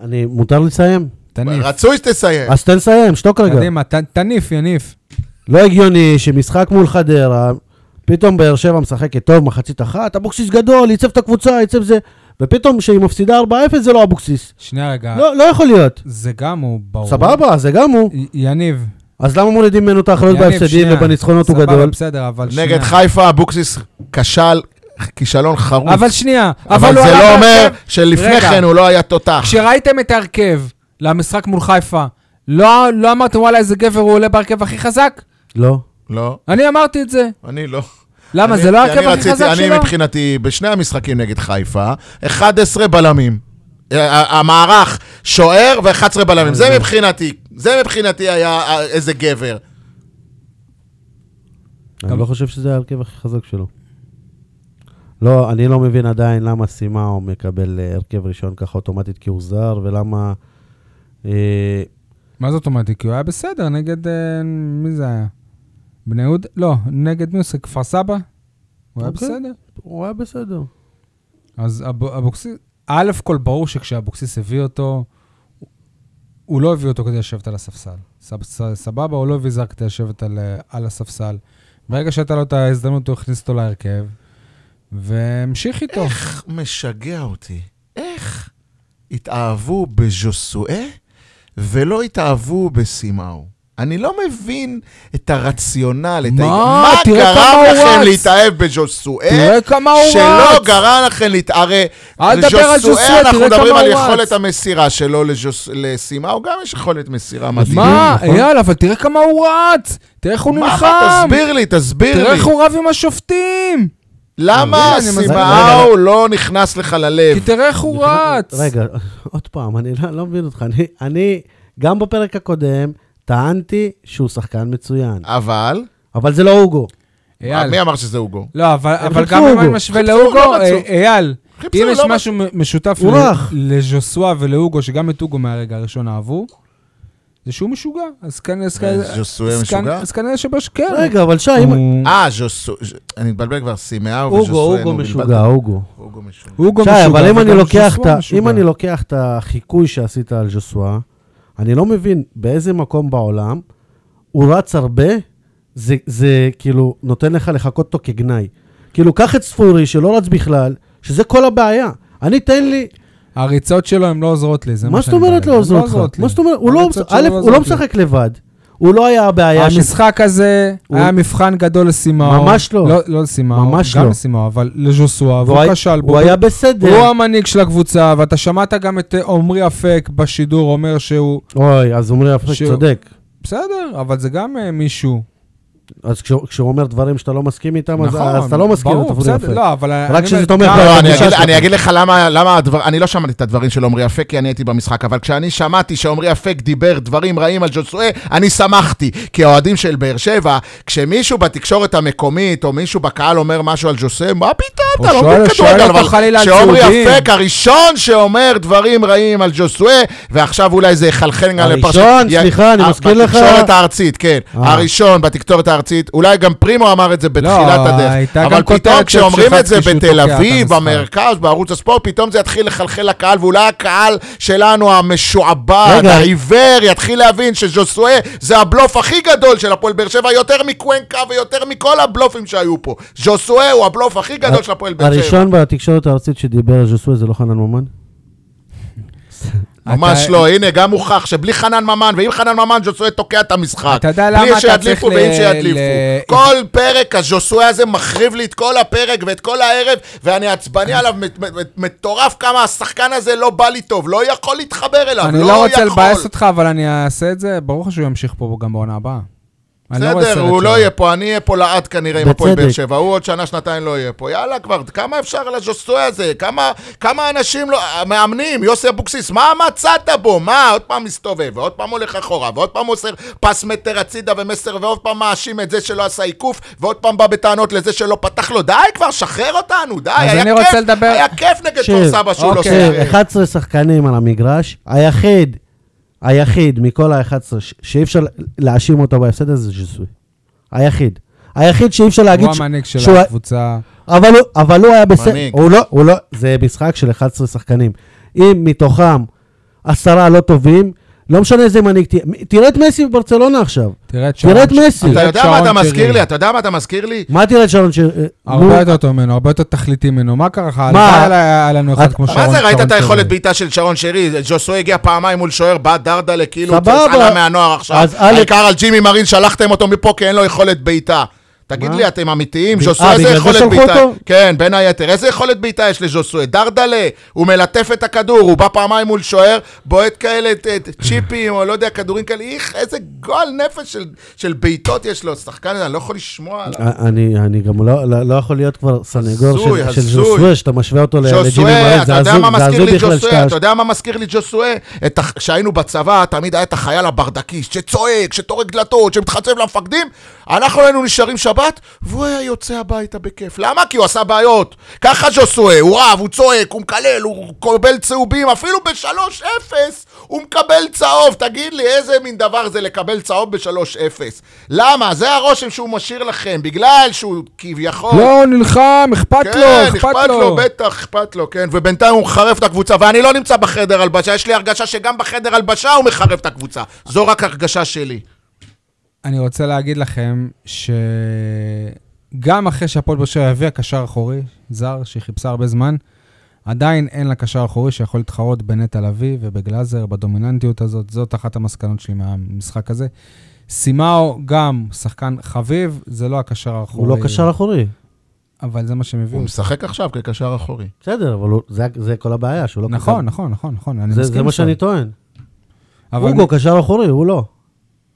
אני, מותר לי לסיים?
תניף.
רצוי שתסיים.
אז תן לסיים, שתוק רגע.
קדימה, ת- תניף, יניף.
לא הגיוני שמשחק מול חדרה, פתאום באר שבע משחקת טוב מחצית אחת, אבוקסיס גדול, ייצב את הקבוצה, ייצב זה, ופתאום כשהיא מפסידה 4-0 זה לא אבוקסיס.
שנייה רגע.
לא, לא יכול להיות.
זה גם הוא אה. ברור.
סבבה, זה גם הוא.
י- יניב.
אז למה מורידים ממנו את האחריות
יניב,
בהפסדים
שנייה.
ובניצחונות הוא
סבבה,
גדול?
בסדר, אבל שנייה.
נגד חיפה אבוקסיס כשל כישלון חרוץ.
אבל שנייה.
אבל
הוא
זה
עלה
לא אומר
בהרכב.
שלפני
רגע.
כן הוא לא היה תותח.
כשראיתם את ההרכב למשחק מול חיפה, לא לא אמרתם, וואלה, איזה גבר הוא עולה בהרכב הכי חזק?
לא.
לא,
אני אמרתי את זה.
אני לא.
למה,
אני-
זה לא
כי אני
ההרכב הכי
רציתי-
חזק שלו?
אני מבחינתי, בשני המשחקים נגד חיפה, 11 בלמים. אה, ה- המערך, שוער ו-11 בלמים. זה מבחינתי, זה מבחינתי היה אה, איזה גבר.
אני לא חושב שזה ההרכב הכי חזק שלו. לא, אני לא מבין עדיין למה סימאו מקבל אה, הרכב ראשון ככה אוטומטית כי הוא זר, ולמה... אה,
מה זה אוטומטי? כי הוא היה בסדר נגד... אה, מי זה היה? בני יהודה? לא, נגד מי זה? כפר סבא? הוא היה
אוקיי.
בסדר.
הוא היה בסדר.
אז אב- אבוקסיס... א' כל ברור שכשאבוקסיס הביא אותו, הוא לא הביא אותו כדי לשבת על הספסל. סב- ס- סבבה, הוא לא הביא זר כדי לשבת על, אה, על הספסל. ברגע שהייתה לו את ההזדמנות, הוא הכניס אותו להרכב, והמשיך איתו.
איך משגע אותי? איך התאהבו בז'וסואה ולא התאהבו בסימאו? אני לא מבין את הרציונל, את
מה?
ה... מה
תראה כמה
גרם
הוא
לכם
רץ.
להתאהב בז'וסואה?
תראה כמה הוא
שלא
רץ!
גרם לכם להתערב.
אל תדבר על ז'וסואה, תראה
אנחנו
כמה
מדברים
הוא
על
רץ.
יכולת המסירה שלו לז'וס- לסימאו, גם יש יכולת מסירה מדהימה.
מה,
נכון?
אייל, אבל תראה כמה הוא רץ! תראה איך הוא
מה,
נלחם!
מה, תסביר לי, תסביר
תראה
לי.
איך הוא רב עם השופטים!
למה
אני מסביר.
סימאו לא נכנס לך ללב?
כי תראה איך הוא רץ!
רגע, עוד פעם, אני לא, לא מבין אותך. אני, אני, גם בפרק הקודם, טענתי שהוא שחקן מצוין.
אבל,
אבל זה לא הוגו.
אייל.
מי אמר שזה הוגו?
לא, אבל, אבל
חיפשו
גם אם
הוגו.
אני משווה
חיפשו,
להוגו,
לא מצאו.
אה, אייל,
חיפשו,
אם יש
לא
משהו מ- משותף
הוא
ל-
רך.
לז'וסואה ולהוגו, שגם את הוגו מהרגע הראשון אהבו, זה שהוא משוגע. אז כנראה... אז כנראה-
ז'וסואה
אז כנ-
משוגע?
אז כנראה שבש... כן.
רגע, אבל שי, אם...
הוא-
אה, ז'וסו... ז'- אני מתבלבל כבר, סימאו
הוגו,
וז'וסואנו.
הוגו משוגע, הוגו.
הוגו משוגע.
הוגו
שי,
משוגע.
אבל אם אני
וגם ז'וסואה
לוקח את ה- אם
משוגע.
אני לוקח את החיקוי שעשית על ז'וסואה, אני לא מבין באיזה מקום בעולם הוא רץ הרבה, זה- זה כאילו נותן לך לחכות אותו כגנאי. כאילו, קח את ספורי, שלא רץ בכלל, שזה כל הבעיה. אני, תן לי...
הריצות שלו הן לא עוזרות לי, זה
מה
מה
זאת
שאני...
אומרת לא
הן
עוזרות לך?
לי.
מה זאת אומרת? הוא לא-
הריצות שלו
א', הוא
עוזרות
לא
לי.
משחק לבד. הוא לא היה הבעיה של...
המשחק הזה
הוא-
היה מבחן גדול לסימאו.
ממש לא.
לא לסימאו,
ממש
גם
לא.
לסימאו, אבל לז'וסואה,
הוא
והוא
היה-
כשל בו.
הוא היה בסדר.
הוא המנהיג של הקבוצה, ואתה שמעת גם את אה, עמרי אפק בשידור אומר שהוא...
אוי, אז עמרי אפק
שהוא-
צודק.
בסדר, אבל זה גם אה, מישהו.
אז כשהוא כשהוא אומר דברים שאתה לא מסכים איתם, אז-
נכון.
אז אתה לא מסכים,
ברור,
אתה עמרי
בסדר,
אפק.
לא, אבל... אני
רק שזה
אומר,
תומך
גם-
ב-
לא, אני
התחושה
אגיד-
שלך.
אני אגיד לך למה- למה הדבר... אני לא שמעתי את הדברים של עמרי אפק, כי אני הייתי במשחק, אבל כשאני שמעתי שעמרי אפק דיבר דברים רעים על ג'וסואה, אני שמחתי. כי האוהדים של באר שבע, כשמישהו בתקשורת המקומית, או מישהו בקהל אומר משהו על ג'וסואה, מה פתאום,
הוא
אתה לא
שואל-
מבין
שואל
כדורגל,
אותו חלילה
אבל
על
כשעמרי
צהובים.
אפק הראשון שאומר דברים רעים על ג'וסואה, ועכשיו אולי זה יחלחל גם לפרשת...
הראשון,
יא-
סליחה, אני
אה,
מזכיר לך-
בתקשורת הארצית, כן.
אה.
הראשון בתקשורת הארצית, אולי גם פרימו אמר את זה בתחילת
לא,
הדרך.
הייתה
אבל
גם
פתאום
כותרת של
כשאומרים את זה
שרשבסקי שהוא
בתל
תוקע את
אביב,
המשחק.
במרכז, בערוץ הספורט, פתאום זה יתחיל לחלחל לקהל, ואולי הקהל שלנו המשועבד,
רגע.
העיוור, יתחיל להבין שז'וסואה זה הבלוף הכי גדול של הפועל באר שבע, יותר מקוונקה ויותר מכל הבלופים שהיו פה. ז'וסואה הוא הבלוף הכי גדול של הפועל באר שבע.
הראשון בתקשורת הארצית שדיבר על ז'סוי זה לא חנן ממן?
ממש
אתה-
לא, הנה, גם הוכח שבלי חנן ממן, ועם חנן ממן, ז'וסואה תוקע את המשחק.
אתה יודע למה
בלי
אתה
שידליפו
צריך
ועם
ל-
שידליפו.
ל-
כל פרק הז'וסואה הזה מחריב לי את כל הפרק ואת כל הערב, ואני עצבני עליו, מט- מט- מטורף כמה השחקן הזה לא בא לי טוב, לא יכול להתחבר אליו,
אני
לא
לא
יכול.
רוצה לבאס אותך, אבל אני אעשה את זה. ברור לך שהוא ימשיך פה גם בעונה הבאה. אני לא רואה
בסדר,
סרט
הוא
שלו.
לא יהיה פה, אני אהיה פה לעד כנראה עם הפועל
בצדק.
באר שבע, הוא עוד שנה, שנתיים לא יהיה פה. יאללה כבר, כמה אפשר על הז'וסואה הזה? כמה- כמה אנשים לא... מאמנים, יוסי אבוקסיס, מה מצאת בו? מה, עוד פעם מסתובב, ועוד פעם הולך אחורה, ועוד פעם מוסר פס מטר הצידה ומסר, ועוד פעם מאשים את זה שלא עשה עיקוף, ועוד פעם בא בטענות לזה שלא פתח לו. די כבר, שחרר אותנו, די,
אז
היה
אני רוצה
כיף,
לדבר-
היה כיף נגד
שב,
כפר סבא שהוא לא
אוקיי.
שיחק.
11 שחקנים על המגרש, היחיד, היחיד מכל ה-11 שאי אפשר להאשים אותו בהפסד הזה זה ז'סוי. היחיד. היחיד שאי אפשר להגיד
הוא
ש-
המנהיג של
שהוא-
הקבוצה.
אבל הוא- אבל הוא היה בסדר.
מנהיג.
הוא לא, הוא לא, זה משחק של 11 שחקנים. אם מתוכם עשרה לא טובים, לא משנה איזה מנהיג תהיה. מ- תראה את מסי בברצלונה עכשיו.
תראה את
תראה את
שרון-
מסי.
תראה
אתה
את
יודע מה
שרון
אתה מזכיר
שרי.
לי? אתה יודע מה אתה מזכיר לי?
מה תראה את שרון אה, שיר?
הרבה יותר טוב ממנו, הרבה יותר תכליתי ממנו. מה קרה לך? הלוואי עלי- היה לנו אחד
מה
כמו שרון.
מה זה, ראית
שרון
את היכולת
שרי.
בעיטה של שרון שרי? ז'וסוי הגיע פעמיים מול שוער, בא דרדלה, כאילו,
סבבה.
הוא עלה מהנוער עכשיו.
אז אלק-
העיקר על ג'ימי מרין, שלחתם אותו מפה כי אין לו יכולת בעיטה. תגיד
מה?
לי, אתם אמיתיים?
ב-
ז'וסוי,
אה,
איזה
בגלל זה
יכולת
שלחו
בעיטה?
אותו?
כן, בין היתר. איזה יכולת בעיטה יש לז'וסוי? דרדלה, הוא מלטף את הכדור, הוא בא פעמיים מול שוער, בועט כאלה את- את צ'יפים, או לא יודע, כדורים כאלה. איך, איזה גועל נפש של- של בעיטות יש לו. שחקן, אני לא יכול לשמוע עליו.
אני, אני גם לא, לא, לא יכול להיות כבר סנגור
הזוי,
של, של
הזוי.
ז'וסווה, שאתה משווה אותו ל- לג'ימי
ג'וסואה,
מרן, זה
אתה יודע
הזוי,
מה
זה
מזכיר
הזוי
לי
בכלל
ג'וסואה?
שאתה...
אתה יודע מה מזכיר לי ג'וסואה? את הח- כשהיינו בצבא, תמיד היה את החייל הברדקיסט, שצועק, שטורק דלתות, שמתחצב למפקדים, אנחנו היינו נשארים שבת, משפט, והוא היה יוצא הביתה בכיף. למה? כי הוא עשה בעיות. ככה ז'וסואה, הוא רב, הוא צועק, הוא מקלל, הוא קובל צהובים, אפילו ב-3-0 הוא מקבל צהוב. תגיד לי, איזה מין דבר זה לקבל צהוב ב-3-0? למה? זה הרושם שהוא משאיר לכם, בגלל שהוא כביכול...
לא, הוא נלחם, אכפת לו, אכפת לו.
כן, בטח, אכפת לו, כן. ובינתיים הוא מחרף את הקבוצה, ואני לא נמצא בחדר הלבשה, יש לי הרגשה שגם בחדר הלבשה הוא מחרף את הקבוצה. זו רק הרגשה שלי.
אני רוצה להגיד לכם שגם אחרי שהפועל באר שבע הביאה קשר אחורי, זר, שהיא חיפשה הרבה זמן, עדיין אין לה קשר אחורי שיכול להתחרות בנטע לביא ובגלאזר, בדומיננטיות הזאת. זאת אחת המסקנות שלי מהמשחק הזה. סימאו גם שחקן חביב, זה לא הקשר האחורי.
הוא לא קשר לא אחורי.
אבל זה מה שהם
הוא
הביאו.
משחק עכשיו כקשר אחורי.
בסדר, אבל הוא- זה- זה כל הבעיה, שהוא לא קשר.
נכון, נכון, נכון, נכון, אני
זה-
מסכים.
זה מה
איתך.
שאני טוען.
אבל-
אוגו קשר אחורי, הוא לא.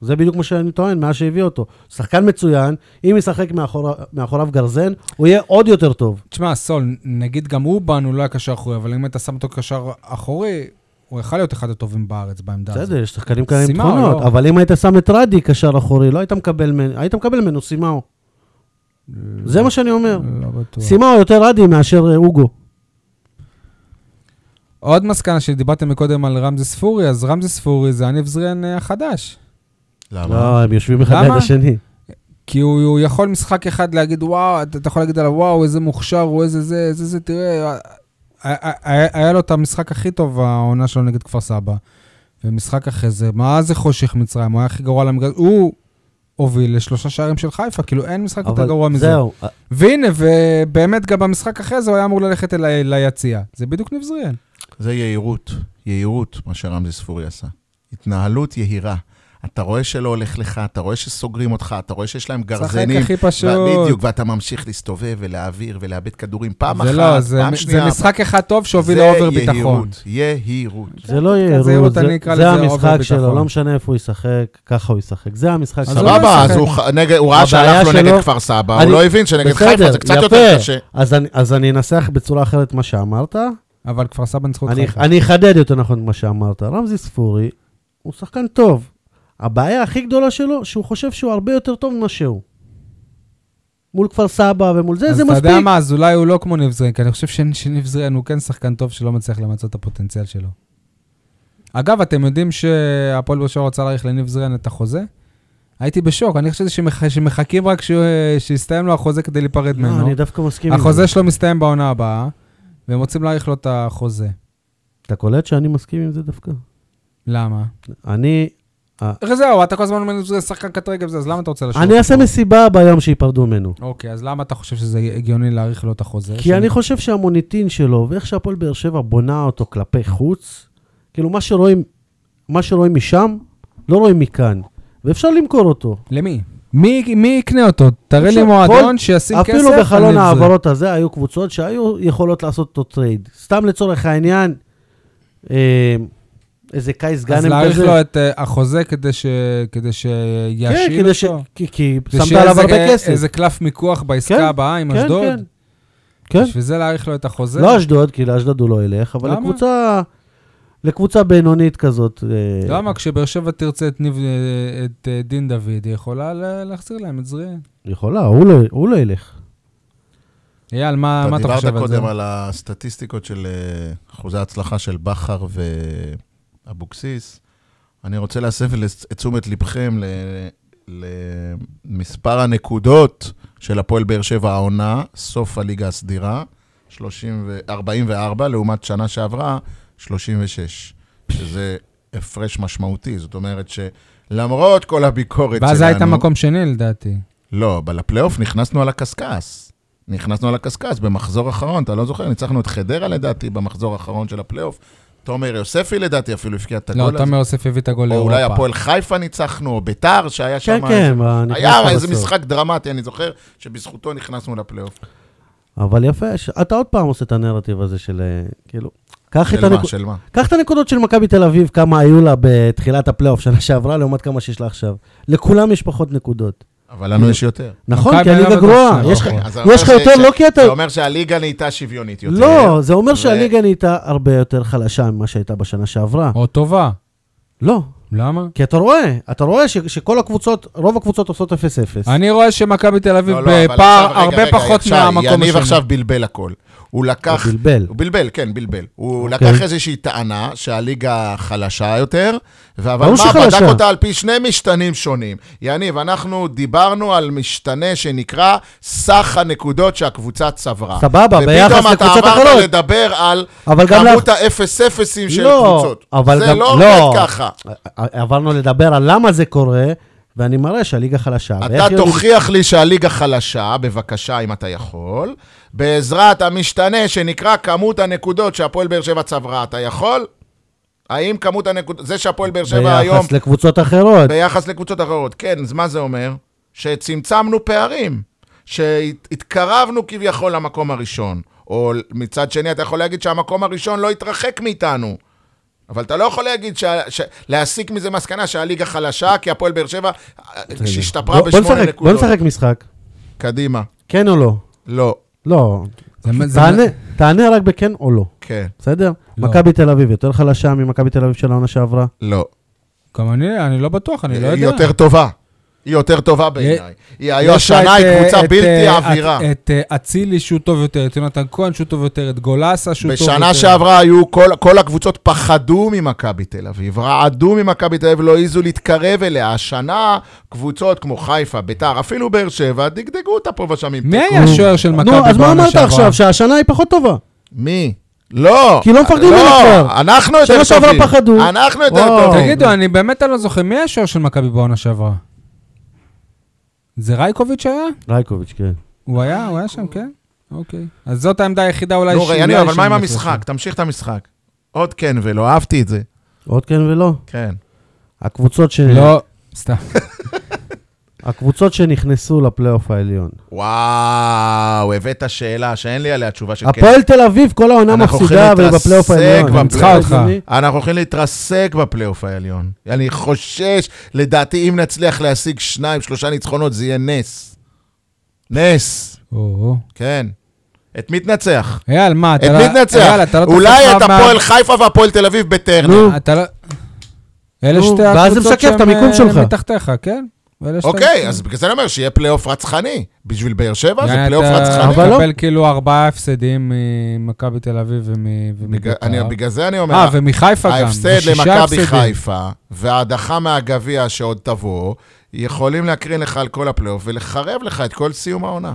זה בדיוק מה שאני טוען, מאז שהביא אותו. שחקן מצוין, אם ישחק מאחור- מאחוריו גרזן, הוא יהיה עוד יותר טוב.
תשמע, סול, נגיד גם אובן הוא לא היה קשר אחורי, אבל אם אתה שם אותו קשר אחורי, הוא יכול להיות אחד הטובים בארץ בעמדה הזאת.
בסדר, יש שחקנים כאלה עם
לא, סימאו,
תכונות,
לא.
אבל אם היית שם את רדי קשר אחורי, לא היית מקבל ממנו, היית מקבל ממנו סימאו.
אה,
זה מה שאני אומר.
לא בטוח.
סימאו יותר רדי מאשר אה, אוגו.
עוד מסקנה שדיברתם מקודם על רמזי ספורי, אז רמזי ספורי זה הניב זריאן אה, החדש.
לא, הם יושבים אחד
למה?
ליד השני.
כי הוא, הוא יכול משחק אחד להגיד, וואו, אתה, אתה יכול להגיד עליו, וואו, איזה מוכשר הוא, איזה זה, איזה זה, תראה. ה- ה- ה- היה לו את המשחק הכי טוב, העונה שלו נגד כפר סבא. ומשחק אחרי זה, מה זה חושך מצרים? הוא היה הכי גרוע למגרש. הוא הוביל לשלושה שערים של חיפה, כאילו אין משחק יותר
אבל
גרוע מזה.
זהו, אה,
והנה, ובאמת גם במשחק אחרי זה הוא היה אמור ללכת אל, ליציע. זה בדיוק ניב זריאן.
זה יהירות, יהירות, מה שרמזי ספורי עשה. התנהלות יהירה. אתה רואה שלא הולך לך, אתה רואה שסוגרים אותך, אתה רואה שיש להם גרזנים.
הכי פשוט.
בדיוק, ואתה ממשיך להסתובב ולהעביר ולאבד כדורים פעם אחת,
זה לא, זה,
פעם
זה
שנייה.
משחק אחד טוב שהוביל
זה
לאובר ביטחון.
יהירות, יהירות.
זה לא יהיה
זה
יהירות,
אותה
זה-
נקרא
זה
לזה
המשחק
אובר
שלו,
ביטחון.
לא משנה איפה הוא ישחק, ככה הוא ישחק. זה המשחק
אז
שלו.
לא
סבבה, אז
משחק.
הוא ח- נגד- הוא ראה
הבעיה
שהלך לו
שלו-
נגד כפר סבא,
אני-
הוא לא הבין שנגד חיפה זה קצת
יפה.
יותר קשה.
אז אני- אז אני אנסח בצורה אחרת מה שאמרת.
אבל כפר סבא ניצחו את
אני-
חיפה.
אני אחדד יותר נכון מה שאמרת. רמזי ספורי הוא שחקן טוב. הבעיה הכי גדולה שלו, שהוא חושב שהוא הרבה יותר טוב ממה שהוא. מול כפר סבא ומול זה,
אז
זה
אתה יודע
מספיק.
מה, אז אולי הוא לא כמו ניב זריאן, כי אני חושב שנ- שניב זריאן הוא כן שחקן טוב שלא מצליח למצות את הפוטנציאל שלו. אגב, אתם יודעים שהפועל באר שבע רוצה להאריך לניב זריאן את החוזה? הייתי בשוק, אני חושב שמח... שמחכים רק ש... שיסתיים לו החוזה כדי להיפרד
לא,
ממנו.
אני דווקא מסכים עם זה.
החוזה שלו מסתיים בעונה הבאה, והם רוצים להאריך לו את החוזה.
אתה קולט שאני מסכים עם זה דווקא?
למה?
אני
זהו, אתה כל הזמן אומר שזה שחקן קט רגב זה, אז למה אתה רוצה לשאול?
אני אעשה מסיבה ביום שייפרדו ממנו.
אוקיי, אז למה אתה חושב שזה הגיוני להאריך לו את החוזה?
כי אני חושב שהמוניטין שלו, ואיך שהפועל באר שבע בונה אותו כלפי חוץ, כאילו מה שרואים, מה שרואים משם, לא רואים מכאן. ואפשר למכור אותו.
למי? מי מי יקנה אותו? תראה לי
עכשיו,
מועדון
כל-
שישים כסף.
אפילו
אני
בחלון
זה.
ההעברות הזה היו קבוצות שהיו יכולות לעשות אותו טרייד. סתם לצורך העניין, אה, איזה קייס
אז
גאנם
להאריך
כזה.
לו את אה, החוזה כדי ש- כדי
כן,
שיאשים
כדי ש...
אותו?
כי, כי
כדי
שמת
שיהיה
עליו
איזה-
הרבה כסף.
איזה קלף מיקוח
כן,
בעסקה הבאה עם
כן,
אשדוד?
כן. כן.
בשביל זה להאריך לו את החוזה?
לא אשדוד, כי לאשדוד הוא לא ילך, אבל
למה?
לקבוצה... לקבוצה בינונית כזאת. אה,
למה? כשבאר שבע תרצה את ניב- אה, את אה, דין דוד, היא יכולה ל- להחזיר להם את זריאן.
יכולה, הוא לא, הוא לא ילך.
אייל, מה מה אתה
אתה
חושב
דיברת
על זה?
קודם על הסטטיסטיקות של אה, אחוזי ההצלחה של בכר ואבוקסיס. אני רוצה להסב לס- את תשומת לבכם ל- למספר הנקודות של הפועל באר שבע העונה, סוף הליגה הסדירה, 30 ו- 44 לעומת שנה שעברה, 36, שזה הפרש משמעותי. זאת אומרת שלמרות כל הביקורת שלנו...
ואז היית מקום שני לדעתי.
לא, אבל לפלייאוף נכנסנו על הקשקש. נכנסנו על הקשקש במחזור אחרון, אתה לא זוכר? ניצחנו את חדרה לדעתי במחזור האחרון של הפלייאוף. תומר יוספי לדעתי אפילו הבקיע את
לא,
הגול הזה.
תומר יוסף הביא את הגול
או
לאירופה.
אולי הפועל חיפה ניצחנו, או ביתר שהיה שם...
כן, כן, מה, נכנסת
היה איזה
בסוף.
משחק דרמטי, אני זוכר, שבזכותו נכנסנו לפלייאוף.
אבל יפה, ש... אתה עוד פעם עושה את הנרטיב הזה של, אה, כאילו, קח את,
של מה?
הנק...
של מה?
קח את הנקודות של מכבי תל אביב, כמה היו לה בתחילת הפלייאוף שנה שעברה, לעומת כמה שיש לה עכשיו. לכולם יש פחות נקודות.
אבל לנו יש יותר.
נכון,
מכבי
כי
לא
הליגה
בטוח שלא,
גרועה. כן. יש לך-
נכון.
אוקיי, אז זה אומר
יש לך
ש-
יותר,
ש-
לא כי אתה...
זה אומר שהליגה נהייתה שוויונית יותר.
לא, זה אומר
ו-
שהליגה נהייתה הרבה יותר חלשה ממה שהייתה בשנה שעברה.
או טובה.
לא,
למה?
כי אתה רואה, אתה רואה ש, שכל הקבוצות, רוב הקבוצות עושות 0-0.
אני רואה שמכבי תל אביב
לא, לא,
בפער
אבל עכשיו, רגע,
הרבה
רגע,
פחות
עכשיו,
מהמקום
יניב
השני.
עכשיו בלבל הכל. הוא לקח...
הוא בלבל.
הוא בלבל, כן, בלבל. הוא
אוקיי.
לקח איזושהי טענה שהליגה חלשה יותר, אבל
ברור
מה,
שחלשה.
בדק אותה על פי שני משתנים שונים. יניב, אנחנו דיברנו על משתנה שנקרא סך הנקודות שהקבוצה צברה.
סבבה, ביחס
ופתאום אתה
לקבוצות
עברת
אחרות.
לדבר על
אבל גם
כמות
לך-
האפס-אפסים של
לא,
קבוצות.
אבל
זה
גם-
לא עובד ככה.
עברנו לדבר על למה זה קורה, ואני מראה שהליגה חלשה. ואיך
אתה
יודעים-
תוכיח לי שהליגה חלשה, בבקשה, אם אתה יכול, בעזרת המשתנה שנקרא כמות הנקודות שהפועל באר שבע צברה. אתה יכול? האם כמות הנקודות... זה שהפועל באר שבע היום,
ביחס לקבוצות אחרות.
ביחס לקבוצות אחרות, כן, אז מה זה אומר? שצמצמנו פערים, שהתקרבנו כביכול למקום הראשון. או מצד שני, אתה יכול להגיד שהמקום הראשון לא התרחק מאיתנו. אבל אתה לא יכול להגיד, ש... ש... להסיק מזה מסקנה שהליגה חלשה, כי הפועל באר שבע, שהשתפרה
בוא- בוא
בשמונה
נשחק-
נקודות.
בוא נשחק משחק.
קדימה.
כן או לא?
לא.
לא.
זה- זה-
תענה- תענה רק בכן או לא,
כן.
בסדר?
לא.
מכבי תל אביב יותר חלשה ממכבי תל אביב של העונה שעברה.
לא.
גם אני, אני לא בטוח, אני לא
אה, היא
יודע.
יותר טובה. היא יותר טובה בעיניי. היא היום
יש לה את,
השנה, היא
אה,
קבוצה
את,
בלתי
אה,
עבירה.
את- את אה, אצילי שהוא טוב יותר, את יונתן כהן שהוא טוב יותר, את גולסה שהוא טוב יותר.
אה,
בשנה שעברה היו, כל, כל הקבוצות פחדו ממכבי תל אביב, רעדו ממכבי תל אביב, לא העזו להתקרב אליה. השנה, קבוצות כמו חיפה, ביתר, אפילו באר שבע, דגדגו אותה פה ושם עם
מי
תיקו.
היה השוער של מכבי
נו,
בעונה
אז
שעברה?
מה אמרת עכשיו? שהשנה היא פחות טובה.
מי? לא.
כי לא מפחדים
לא,
ממנו כבר.
אנחנו יותר
שנה
טובים.
שעברה פחדו.
אנחנו יותר
וואו.
טובים.
תגידו, אני באמת לא זוכר, מי היה השוער של מכבי בעונה שעברה? זה רייקוביץ' היה?
רייקוביץ', כן.
הוא היה, הוא היה שם, כן? אוקיי. אז זאת העמדה היחידה אולי לא
נו,
שאולי
יניב, אבל מה עם
שאני
המשחק? תמשיך את המשחק. עוד כן ולא, אהבתי את זה.
עוד כן ולא.
כן.
הקבוצות ש-
זוכר. לא, סתם.
הקבוצות שנכנסו לפלייאוף העליון.
וואו, הבאת שאלה שאין לי עליה תשובה של כן.
הפועל תל אביב כל העונה
אנחנו
מפסידה
הולכים להתרסק
ובפלייאוף העליון.
בפלייאוף.
ניצחה אותך.
אדוני.
אנחנו הולכים להתרסק בפלייאוף העליון. אני חושש, לדעתי, אם נצליח להשיג שניים, שלושה ניצחונות, זה יהיה נס. נס,
או-הו.
כן. את מי תנצח?
אייל, מה, אתה
את
לא...
מי תנצח?
אייל, אתה לא
אולי
תחזור
את
מה-
הפועל חיפה והפועל תל אביב בטרנר.
נו,
אתה לא... אלה
נו,
שתי
ואז זה
הקבוצות
משקף את
שהן,
המיקום
אה,
שלך.
מתחתיך, כן? ואלה שתי-
אוקיי, אז בגלל זה אני אומר שיהיה פלייאוף רצחני. בשביל באר שבע זה
יאללה,
פלייאוף רצחני.
אה, אתה
אבל לא.
מקבל כאילו ארבעה הפסדים ממכבי תל אביב ומ-
בגלל-
ומביתר.
אני- בגלל זה אני אומר...
אה, ומחיפה גם.
ההפסד
זה שישה
למכבי
הפסדים.
חיפה וההדחה מהגביע שעוד תבוא, יכולים להקרין לך על כל הפלייאוף ולחרב לך את כל סיום העונה.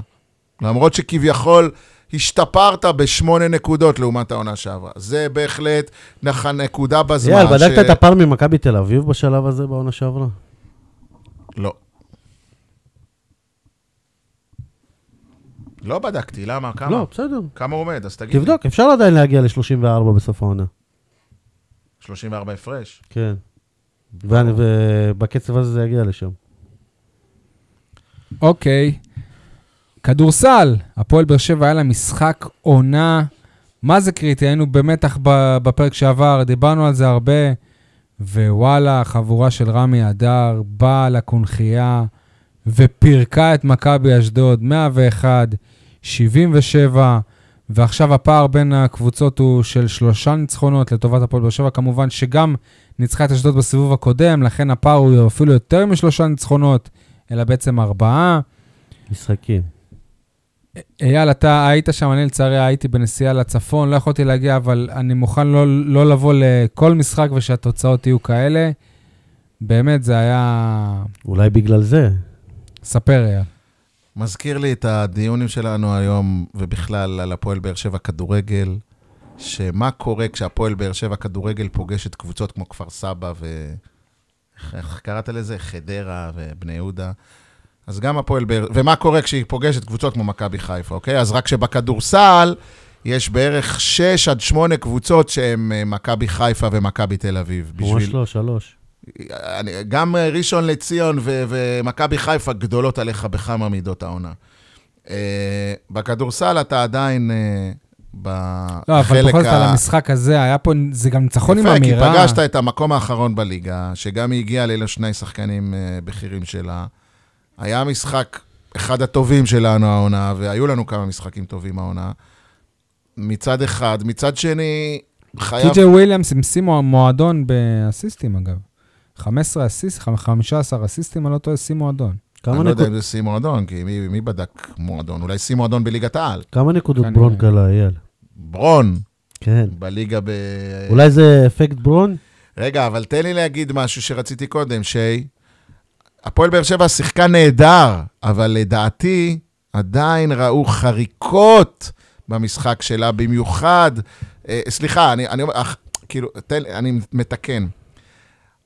למרות שכביכול השתפרת בשמונה נקודות לעומת העונה שעברה. זה בהחלט נח- נקודה בזמן.
אייל, בדקת את הפער ממכבי תל אביב בשלב הזה בעונה שעברה?
לא. לא בדקתי, למה? כמה?
לא, בסדר.
כמה הוא עומד? אז תגיד. לי.
תבדוק, אפשר עדיין להגיע ל-34 בסוף העונה.
34 הפרש.
כן. ואני- ובקצב הזה זה יגיע לשם.
אוקיי. כדורסל, הפועל באר שבע היה לה משחק עונה. מה זה קריטי? היינו במתח ב- בפרק שעבר, דיברנו על זה הרבה, ווואלה, החבורה של רמי אדר באה לקונכייה ופירקה את מכבי אשדוד, 101, 77, ועכשיו הפער בין הקבוצות הוא של שלושה ניצחונות לטובת הפועל באר שבע, כמובן שגם ניצחה את אשדוד בסיבוב הקודם, לכן הפער הוא אפילו יותר משלושה ניצחונות, אלא בעצם ארבעה.
משחקים.
אייל, אתה היית שם, אני לצערי הייתי בנסיעה לצפון, לא יכולתי להגיע, אבל אני מוכן לא, לא לבוא לכל משחק ושהתוצאות יהיו כאלה. באמת, זה היה...
אולי בגלל זה.
ספר, אייל.
מזכיר לי את הדיונים שלנו היום, ובכלל על הפועל באר שבע כדורגל, שמה קורה כשהפועל באר שבע כדורגל פוגשת קבוצות כמו כפר סבא ו... איך- איך קראת לזה? חדרה ובני יהודה. אז גם הפועל באר... ומה קורה כשהיא פוגשת קבוצות כמו מכבי חיפה, אוקיי? אז רק שבכדורסל יש בערך 6 עד 8 קבוצות שהן אה, מכבי חיפה ומכבי תל אביב.
ממש לא, שלוש.
אני- גם אה, ראשון לציון ו- ומכבי חיפה גדולות עליך בכמה מידות העונה. אה, בכדורסל אתה עדיין אה, בחלק
לא, אבל בכל זאת על המשחק הזה, היה פה, זה גם ניצחון עם
יפה, כי
אמירה.
פגשת את המקום האחרון בליגה, שגם היא הגיעה לאלה שני שחקנים אה, בכירים שלה. היה משחק, אחד הטובים שלנו העונה, והיו לנו כמה משחקים טובים העונה. מצד אחד. מצד שני, חייב...
טי.ג'יי וויליאמס עם שיא מוע- מועדון באסיסטים, אגב. 15 אסיס, 15 אסיסטים, אני לא טועה, שיא מועדון.
כמה
אני לא יודע
נקוד-
אם זה שיא מועדון, כי מי, מי בדק מועדון? אולי שיא מועדון בליגת העל.
כמה נקודות
כנראה.
ברון קלה, אייל?
ברון,
כן.
בליגה ב...
אולי זה אפקט ברון?
רגע, אבל תן לי להגיד משהו שרציתי קודם, שי. הפועל באר שבע שיחקה נהדר, אבל לדעתי עדיין ראו חריקות במשחק שלה, במיוחד... אה, סליחה, אני, אני אומר, אך, כאילו, תן, לי- אני מתקן.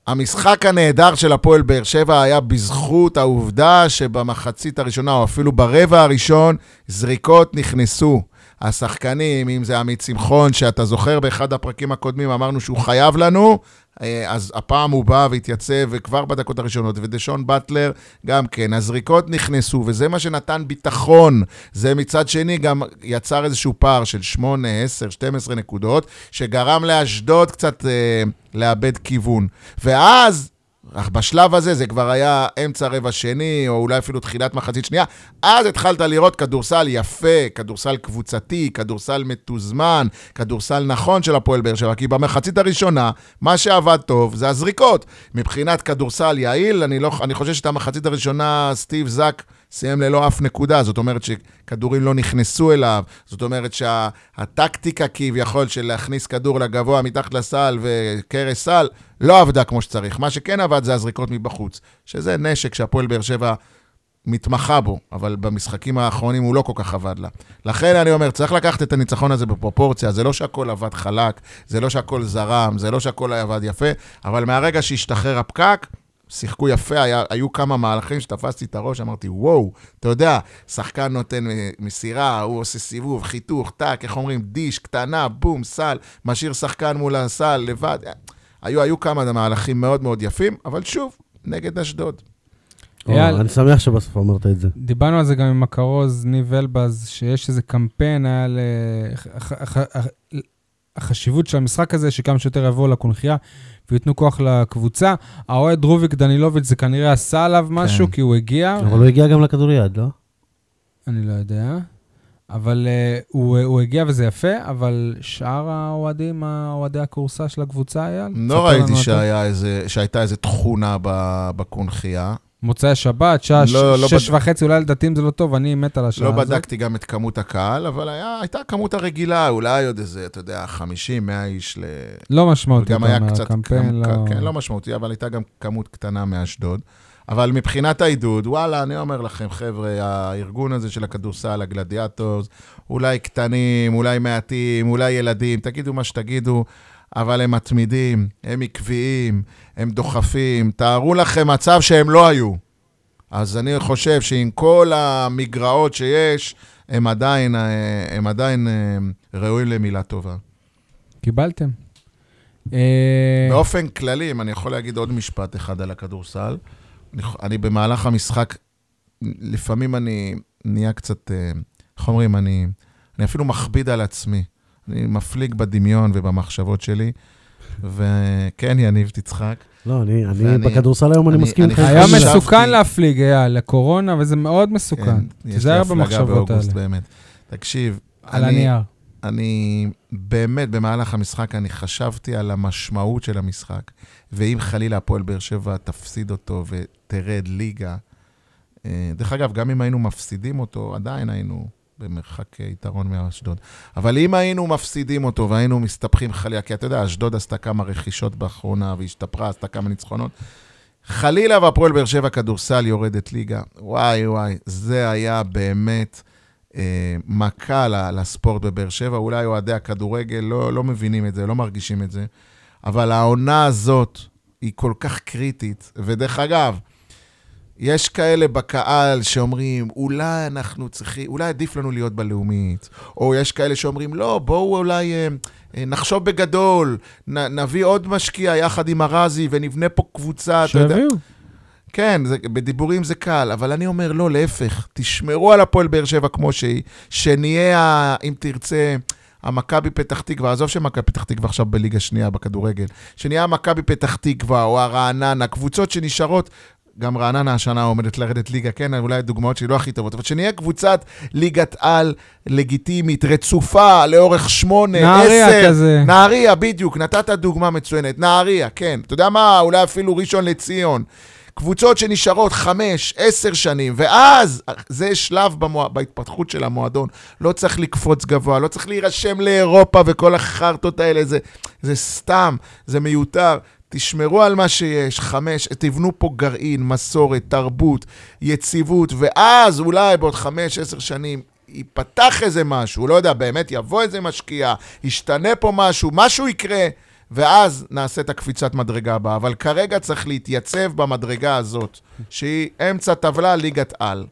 המשחק הנהדר של הפועל באר שבע היה בזכות העובדה שבמחצית הראשונה, או אפילו ברבע הראשון, זריקות נכנסו. השחקנים, אם זה עמית שמחון, שאתה זוכר באחד הפרקים הקודמים אמרנו שהוא חייב לנו, אה, אז הפעם הוא בא והתייצב וכבר בדקות הראשונות, ודשון באטלר גם כן. הזריקות נכנסו, וזה מה שנתן ביטחון. זה מצד שני גם יצר איזשהו פער של 8, 10, 12 נקודות, שגרם לאשדוד קצת אה, לאבד כיוון. ואז אך בשלב הזה זה כבר היה אמצע רבע שני, או אולי אפילו תחילת מחצית שנייה. אז התחלת לראות כדורסל יפה, כדורסל קבוצתי, כדורסל מתוזמן, כדורסל נכון של הפועל באר שבע, כי במחצית הראשונה, מה שעבד טוב זה הזריקות. מבחינת כדורסל יעיל, אני, לא, אני חושב שאת המחצית הראשונה, סטיב זק סיים ללא אף נקודה, זאת אומרת שכדורים לא נכנסו אליו, זאת אומרת שהטקטיקה כביכול של להכניס כדור לגבוה מתחת לסל וקרס סל, לא עבדה כמו שצריך. מה שכן עבד זה הזריקות מבחוץ, שזה נשק שהפועל באר שבע מתמחה בו, אבל במשחקים האחרונים הוא לא כל כך עבד לה. לכן אני אומר, צריך לקחת את הניצחון הזה בפרופורציה, זה לא שהכל עבד חלק, זה לא שהכל זרם, זה לא שהכל עבד יפה, אבל מהרגע שהשתחרר הפקק, שיחקו יפה, היה, היו כמה מהלכים שתפסתי את הראש, אמרתי, וואו, אתה יודע, שחקן נותן אה, מסירה, הוא עושה סיבוב, חיתוך, טאק, איך אומרים, דיש, קטנה, בום, סל, משאיר שחקן מול הסל, לבד. אה, היו, היו כמה מהלכים מאוד מאוד יפים, אבל שוב, נגד אשדוד.
אייל.
או, אני שמח שבסוף אמרת את זה.
דיברנו על זה גם עם הכרוז, ניב אלבז, שיש איזה קמפיין על אה, ח- ח- ח- החשיבות של המשחק הזה, שכמה שיותר יבואו לקונכייה וייתנו כוח לקבוצה. האוהד רוביק דנילוביץ', זה כנראה עשה עליו משהו,
כן.
כי הוא הגיע,
אבל הוא הגיע גם לכדוריד, לא?
אני לא יודע. אבל uh, הוא, הוא הגיע וזה יפה, אבל שאר האוהדים, האוהדי הכורסה של הקבוצה, אייל? תספר
לא ראיתי
לנו אתה.
שהיה איזה, שהייתה איזה תכונה ב- בקונכייה.
מוצאי שבת, שעה
לא, לא
לא, שש
בד-
וחצי, אולי לדתיים זה לא טוב, אני מת על השעה
לא
הזאת.
בדקתי גם את כמות הקהל, אבל היה- הייתה כמות הרגילה, אולי עוד איזה, אתה יודע, 50, 100 איש ל...
לא משמעותי,
גם
אתה
היה
אומר,
קצת...
הקמפיין,
גם-
לא...
כן, לא משמעותי, אבל הייתה גם כמות קטנה מאשדוד. אבל מבחינת העידוד, וואלה, אני אומר לכם, חבר'ה, הארגון הזה של הכדורסל, הגלדיאטורס, אולי קטנים, אולי מעטים, אולי ילדים, תגידו מה שתגידו, אבל הם מתמידים, הם עקביים, הם דוחפים. תארו לכם מצב שהם לא היו. אז אני חושב שעם כל המגרעות שיש, הם עדיין, אה, הם עדיין אה, ראויים למילה טובה.
קיבלתם. אה,
באופן כללי, אם אני יכול להגיד עוד משפט אחד על הכדורסל, אני, ח- אני במהלך המשחק, לפעמים אני נהיה קצת, אה, איך אומרים, אני, אני אפילו מכביד על עצמי. אני מפליג בדמיון ובמחשבות שלי, וכן, יניב, תצחק.
לא, אני, אני
ואני-
בכדורסל היום אני
אני-
מסכים
אני
איתך.
היה
חשבתי-
מסוכן להפליג, אייל, לקורונה, וזה מאוד מסוכן.
כן, יש
תיזהר
לי הפלגה
במחשבות
באוגוסט,
האלה.
באמת. תקשיב,
על
אני-
הנייר.
אני באמת, במהלך המשחק, אני חשבתי על המשמעות של המשחק, ואם חלילה הפועל באר שבע תפסיד אותו ותרד ליגה, אה, דרך אגב, גם אם היינו מפסידים אותו, עדיין היינו במרחק אה, יתרון מאשדוד. אבל אם היינו מפסידים אותו והיינו מסתבכים חלילה, כי אתה יודע, אשדוד עשתה כמה רכישות באחרונה והשתפרה, עשתה כמה ניצחונות. חלילה והפועל באר שבע כדורסל יורדת ליגה. וואי וואי, זה היה באמת אה, מכה ל- לספורט בבאר שבע. אולי אוהדי הכדורגל לא, לא מבינים את זה, לא מרגישים את זה, אבל העונה הזאת היא כל כך קריטית. ודרך אגב, יש כאלה בקהל שאומרים, אולי אנחנו צריכים, אולי עדיף לנו להיות בלאומית. או יש כאלה שאומרים, לא, בואו אולי אה, אה, נחשוב בגדול, נ, נביא עוד משקיע יחד עם ארזי ונבנה פה קבוצה, אתה יודע.
שיביאו.
כן, זה, בדיבורים זה קל, אבל אני אומר, לא, להפך, תשמרו על הפועל באר שבע כמו שהיא, שנהיה, ה- אם תרצה, המכבי פתח תקווה, עזוב שמכבי פתח תקווה עכשיו בליגה שנייה בכדורגל, שנהיה המכבי פתח תקווה או הרעננה, קבוצות שנשארות גם רעננה השנה עומדת לרדת ליגה, כן, אולי הדוגמאות שלי לא הכי טובות, אבל שנהיה קבוצת ליגת על לגיטימית, רצופה, לאורך שמונה,
נהריה
עשר.
כזה.
נהריה, בדיוק, נתת דוגמה מצוינת. נהריה, כן. אתה יודע מה, אולי אפילו ראשון לציון. קבוצות שנשארות חמש, עשר שנים, ואז זה שלב במוע... בהתפתחות של המועדון. לא צריך לקפוץ גבוה, לא צריך להירשם לאירופה וכל החרטות האלה, זה, זה סתם, זה מיותר. תשמרו על מה שיש, חמש, תבנו פה גרעין, מסורת, תרבות, יציבות, ואז אולי בעוד חמש, עשר שנים ייפתח איזה משהו, לא יודע, באמת יבוא איזה משקיע, ישתנה פה משהו, משהו יקרה, ואז נעשה את הקפיצת מדרגה הבאה. אבל כרגע צריך להתייצב במדרגה הזאת, שהיא אמצע טבלה ליגת על.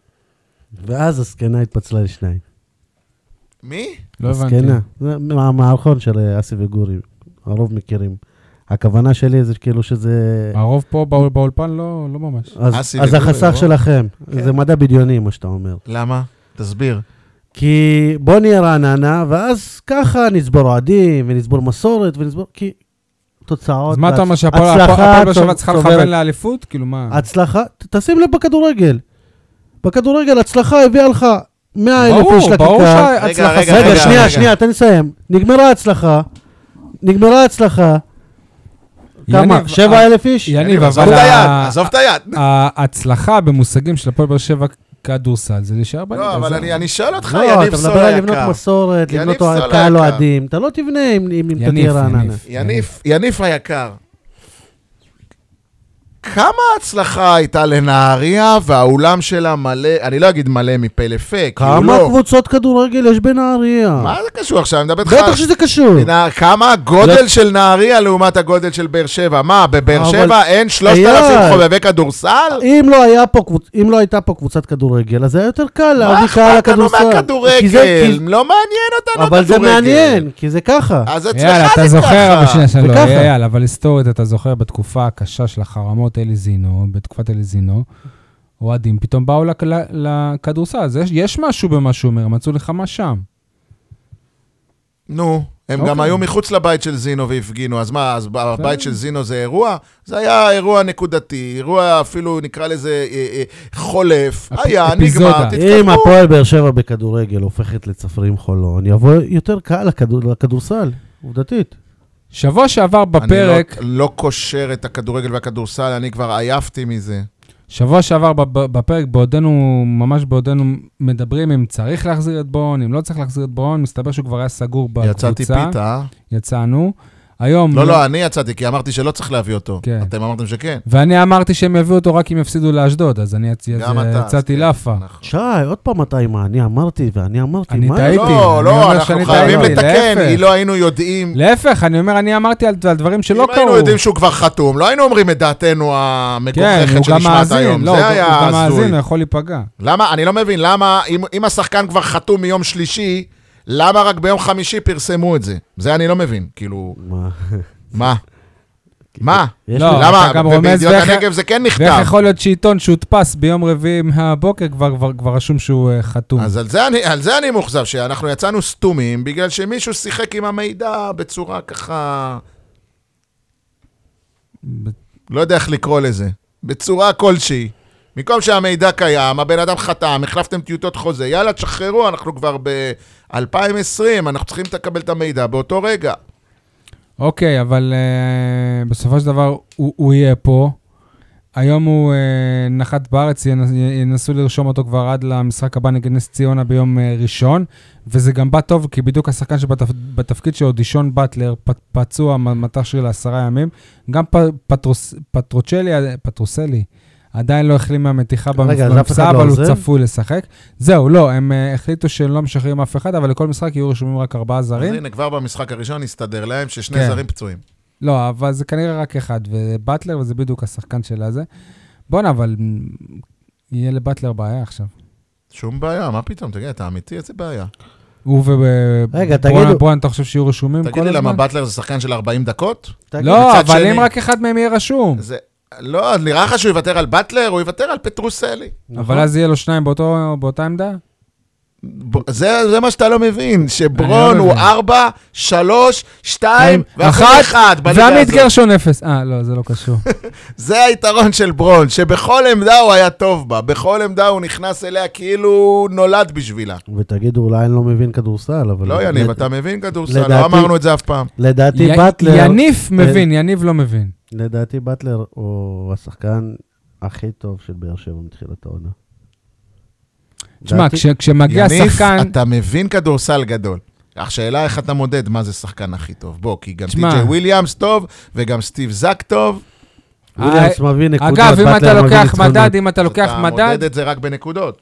ואז הזקנה התפצלה לשניים.
מי?
לא הבנתי.
הזקנה. זה מה- המערכון של אה, אסי וגורי, הרוב מכירים. הכוונה שלי זה כאילו שזה...
הרוב פה באול- באולפן לא לא ממש.
אז,
אסי
אז
וגורי,
החסך
לא?
שלכם, זה מדע בדיוני, מה שאתה אומר.
למה? תסביר.
כי בוא נהיה רעננה, ואז ככה נצבור אוהדים, ונצבור מסורת, ונצבור... כי תוצאות...
אז מה אתה אומר,
והצ-
שהפועל הפועל-
הצלחה
הפועל באר שבע
צוב-
צריכה
צוברת-
לכוון לאליפות? כאילו מה?
הצלחה, ת- תשים לב בכדורגל. בכדורגל הצלחה הביאה לך 100 אלף
ברור,
איש לקקה.
ברור
רגע,
שההצלחה...
רגע,
רגע,
רגע.
שנייה, שנייה, תן לי לסיים. נגמרה ההצלחה. נגמרה ההצלחה. כמה?
אה,
יניב,
7,000 איש?
יניב,
עזוב
אבל
את היד,
ה-
עזוב את היד.
ההצלחה במושגים של הפועל באר שבע כדורסל זה להישאר בליגה.
לא, אבל
זה-
אני- אני שואל אותך,
לא,
יניב
אתה
סול
מדבר על לבנות
היקר.
מסורת,
יניב
לבנות
סול
קהל
היקר.
אוהדים. אתה לא תבנה אם אם- אם אתה
יניב,
תהיה רעננה.
יניב.
יניף, יניף היקר. כמה הצלחה הייתה לנהריה והאולם שלה מלא, אני לא אגיד מלא מפה לפה, כי הוא
כמה
לא.
קבוצות כדורגל יש בנהריה?
מה זה קשור עכשיו? אני מדבר איתך...
בטח שזה קשור.
נהר- כמה הגודל של נהריה לעומת הגודל של באר שבע? מה, בבאר
לא- אבל-
שבע אין
אייל.
3,000 חובבי כדורסל?
אם לא, היה פה, קבוצ- אם לא הייתה פה קבוצת כדורגל, אז היה יותר קל
מה
להביא קהל
אכפת לנו
לכדורסל. כי זה-
מהכדורגל?
כי-
לא מעניין אותנו הכדורגל.
אבל זה מעניין, כי זה ככה.
אז אצלך זה ככה.
יאללה, אתה זוכר, אבל שנייה, שנייה, לא,
וככה.
יאללה, אבל היסטורית, אתה זוכר בתקופה הקשה של החרמות אלי זינו, בתקופת אלי זינו, אוהדים פתאום באו לק- ל- לכדורסל, אז יש- יש משהו במה שהוא אומר, מצאו נחמה שם.
נו, הם
אוקיי.
גם היו מחוץ לבית של זינו והפגינו, אז מה, אז הבית של זינו זה אירוע? זה היה אירוע נקודתי, אירוע אפילו נקרא לזה אה, אה, חולף,
אפ-
היה,
אפיזודה.
נגמר,
אם
תתקדמו.
הפועל באר שבע בכדורגל הופכת לצפרים חולון, יבוא יותר קהל לכדור- לכדורסל, עובדתית.
שבוע שעבר בפרק,
אני לא, לא קושר את הכדורגל והכדורסל, אני כבר עייפתי מזה.
שבוע שעבר בב- בפרק, בעודנו, ממש בעודנו מדברים אם צריך להחזיר את בון, אם לא צריך להחזיר את בון, מסתבר שהוא כבר היה סגור בקבוצה.
יצאתי פיתה.
יצאנו. היום...
לא, לא, אני יצאתי, כי אמרתי שלא צריך להביא אותו.
כן.
אתם אמרתם שכן.
ואני אמרתי שהם יביאו אותו רק אם יפסידו לאשדוד, אז אני יצ-
גם
יצ-
אתה. אז
יצאתי
כן,
לאפה.
נכון.
שי, עוד פעם אתה עם אני אמרתי ואני אמרתי,
אני
מה?
טעיתי.
לא,
אני
לא,
אומר
אנחנו
שאני
חייבים
טעיתי,
לתקן,
להפך.
אם לא היינו יודעים...
להפך, אני אומר, אני אמרתי על על דברים שלא
אם לא
קרו.
היינו יודעים שהוא כבר חתום, לא היינו אומרים את דעתנו
כן,
המגוחכת
הוא גם
שנשמעת
מאזין,
היום.
לא, הוא
זה
הוא
היה
גם מאזין,
הזוי.
הוא יכול להיפגע.
למה, אני לא מבין, למה, אם, אם השחקן כבר חתום מיום שלישי, למה רק ביום חמישי פרסמו את זה? זה אני לא מבין, כאילו,
מה?
מה? מה?
יש
לא,
לי-
למה?
אתה גם רומז
בידיעות
ואיך-
הנגב זה כן
ואיך
נכתב.
יכול להיות שעיתון שהודפס ביום רביעי מהבוקר כבר- כבר כבר רשום שהוא אה, חתום?
אז על זה, אני, על זה אני מאוכזב, שאנחנו יצאנו סתומים בגלל שמישהו שיחק עם המידע בצורה ככה... לא יודע איך לקרוא לזה. בצורה כלשהי. במקום שהמידע קיים, הבן אדם חתם, החלפתם טיוטות חוזה, יאללה, תשחררו, אנחנו כבר ב-2020, אנחנו צריכים לקבל את המידע באותו רגע.
אוקיי, אבל אה, בסופו של דבר הוא הוא יהיה פה. היום הוא אה, נחת בארץ, ינס- ינסו לרשום אותו כבר עד למשחק הבא נגד נס ציונה ביום אה, ראשון, וזה גם בא טוב, כי בדיוק השחקן שבתפקיד שלו, דישון באטלר, פ- פצוע, מ- מטח שריר לעשרה ימים, גם פ- פטרוס- פטרוצ'לי, אה, פטרוסלי, עדיין לא החלים מהמתיחה
רגע, אז אף
במפ-
אחד
במפסע,
לא
אבל הוא
עוזב?
צפוי לשחק. זהו, לא, הם אה, החליטו שלא משחררים אף אחד, אבל לכל משחק יהיו רשומים רק ארבעה
אז
זרים.
הנה, כבר במשחק הראשון הסתדר להם ששני
כן.
זרים פצועים.
לא, אבל זה כנראה רק אחד, ובטלר, וזה בדיוק השחקן של הזה. בואנה, אבל מ, יהיה לבטלר בעיה עכשיו.
שום בעיה, מה פתאום? תגיד, אתה אמיתי? איזה בעיה?
הוא ו...
רגע,
בואנה,
תגידו-
בואנה, אתה חושב שיהיו רשומים כל
תגיד
הזמן?
לי, למה באטלר זה שחקן של 40 דקות?
תגיד,
לא,
מצד
אבל
שני-
אם רק אחד מהם יהיה רשום.
זה... לא, נראה לך שהוא יוותר על באטלר? הוא יוותר על פטרוסלי.
נכון?
אבל אז יהיה לו שניים באותו- באותה עמדה?
ב- זה, זה מה שאתה לא מבין,
אני
שברון
לא
הוא
מבין.
4, 3, 2 ואחרי
אחת,
1 בליגה
ועמית
הזאת.
גרשון אפס. אה, לא, זה לא קשור.
זה היתרון של ברון, שבכל עמדה הוא היה טוב בה, בכל עמדה הוא נכנס אליה כאילו הוא נולד בשבילה.
ותגידו, אולי אני לא מבין כדורסל, אבל...
לא, יניב,
לד-
אתה מבין כדורסל,
לדעתי-
לא אמרנו את זה אף פעם.
לדעתי אה,
י-
באטלר...
יניף מבין, יניב לא מבין.
לדעתי באטלר הוא השחקן הכי טוב של באר שבע מתחילת העונה.
תשמע,
לדעתי-
כש- כשמגיע
יניף,
שחקן...
אתה מבין כדורסל גדול. השאלה איך אתה מודד מה זה שחקן הכי טוב. בוא, כי גם
תשמע.
די.ג'יי וויליאמס טוב, וגם סטיב זאק טוב.
וויליאמס מביא נקודות,
אה, אגב, אם אתה
באטלר מביא
לוקח
ניצחונות.
מדד, אם אתה לוקח
אתה
מדד...
מודד את זה רק בנקודות.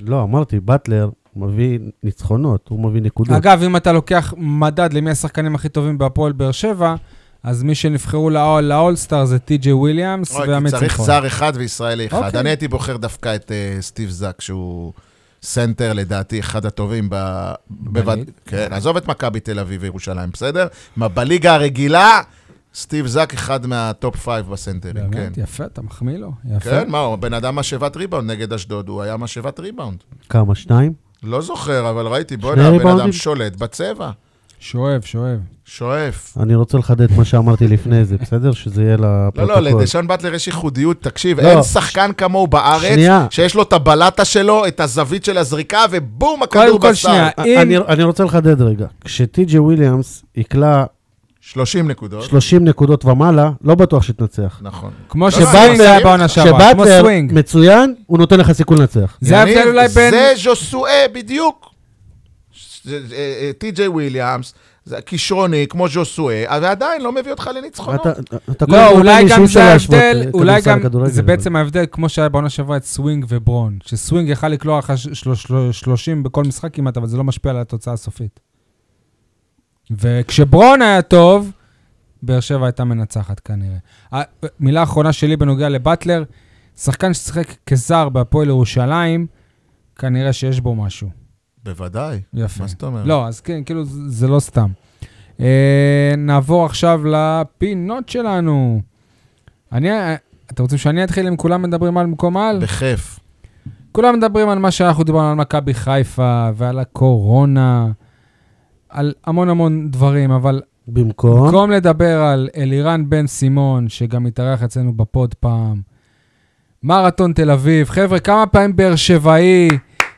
לא, אמרתי, באטלר מביא ניצחונות, הוא מביא נקודות.
אגב, אם אתה לוקח מדד למי השחקנים הכי טובים בהפועל באר שבע, אז מי שנבחרו לאול- לאולסטאר זה טי.ג'יי וויליאמס
אוי,
ועמית
כי צריך
שמחון.
זר אחד וישראלי אחד.
נכון. אוקיי.
אני הייתי בוחר דווקא את אה, סטיב זאק, שהוא סנטר לדעתי אחד הטובים ב... בווד...
בליג?
כן, עזוב את מכבי תל אביב וירושלים, בסדר? מה, בליגה הרגילה, סטיב זאק אחד מהטופ פייב בסנטרים, כן.
באמת, יפה, אתה מחמיא לו. יפה.
כן, מה, הוא בן אדם משאבת ריבאונד נגד אשדוד, הוא היה משאבת ריבאונד.
כמה, שניים?
לא זוכר, אבל ראיתי, בוא'נה, הבן
ריבאונדים?
אדם שולט בצבע,
שואב, שואב.
שואף.
אני רוצה לחדד מה שאמרתי לפני זה, בסדר? שזה יהיה
לא,
לפרוטוקול.
לא, לדשון באטלר יש ייחודיות, תקשיב,
לא.
אין שחקן כמוהו בארץ,
שנייה.
שיש לו את הבלטה שלו, את הזווית של הזריקה, ובום, הכדור
קודם כל,
בסל.
שנייה,
א-
אם...
אה, אני- אני רוצה לחדד רגע. כשטי.ג'י וויליאמס יקלע
30 נקודות,
30 נקודות ומעלה, לא בטוח שתנצח.
נכון.
כמו
לא, אני
שביינס
מסכים
היה
איתך.
בעונה שעברה, כמו
כשבאטלר
סווינג.
מצוין, הוא נותן לך סיכון לנצח.
זה
יניב,
ההבדל אולי בין...
זה ז'וסואה, בדיוק. זה- זה- אה, טי.ג'יי וויליאמס, זה כישרוני כמו ז'וסואה, ועדיין לא מביא אותך לניצחונות.
אתה- אתה כל
לא,
הזמן
אולי
אומר
גם
לי שאי
זה
אפשר להשוות,
ההבדל,
אה,
אולי
כדורסל
גם,
לכדורגל,
זה
אבל-
בעצם ההבדל, כמו שהיה בעונה שעברה את סווינג וברון, שסווינג יכל לקלוע לך ש- שלוש- שלוש- 30 בכל משחק כמעט, אבל זה לא משפיע על התוצאה הסופית. וכשברון היה טוב, באר שבע הייתה מנצחת כנראה. ה- מילה אחרונה שלי בנוגע לבטלר, שחקן ששיחק כזר בהפועל ירושלים, כנראה שיש בו משהו.
בוודאי.
יפה.
מה זאת אומרת?
לא, אז כן, כאילו, זה זה לא סתם. אה, נעבור עכשיו לפינות שלנו. אני... אה, אתם רוצים שאני אתחיל אם כולם מדברים על מקום על?
בכיף.
כולם מדברים על מה שאנחנו דיברנו, על מכבי חיפה ועל הקורונה, על המון המון דברים, אבל
במקום...
במקום לדבר על אלירן בן סימון, שגם התארח אצלנו בפוד פעם, מרתון תל אביב, חבר'ה, כמה פעמים באר שבעי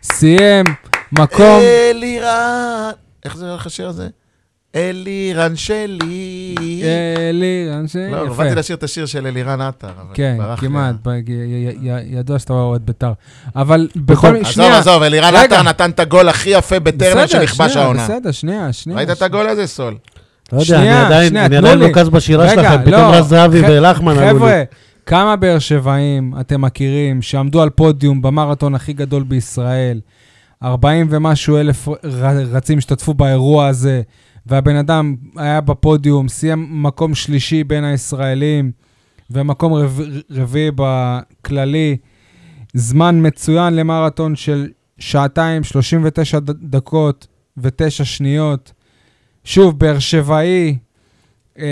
סיים מקום...
אלירן, איך זה הולך השיר הזה? אלירן שלי.
אה, אלירן, ש...
אה, לא,
יפה.
באתי לשיר את השיר של אלירן עטר, אבל
כן,
ברח לי
כמעט,
ה-
ב- י- י- י- ידוע שאתה אוהד בית"ר. אבל בכל מקרה,
עזוב,
שנייה.
עזוב, אלירן
רגע.
עטר נתן את הגול הכי יפה בטרנר
בסדר,
שנכבש
שנייה,
העונה.
בסדר, שנייה, שנייה.
ראית את הגול הזה, סול?
לא יודע,
שנייה,
אני עדיין,
שנייה,
אני
תנו
עדיין
לי.
מוקז בשירה
רגע,
שלכם,
לא,
פתאום רז זהבי
ח-
ולחמן עלו לי.
חבר'ה, כמה באר שבעים אתם מכירים שעמדו על פודיום במרתון הכי גדול בישראל, 40 ומשהו אלף ר- רצים השתתפו באירוע הזה, והבן אדם היה בפודיום, סיים מקום שלישי בין הישראלים, ומקום רב- רביעי בכללי. זמן מצוין למרתון של שעתיים, 39 ד- דקות ותשע שניות. שוב, באר שבעי, אה,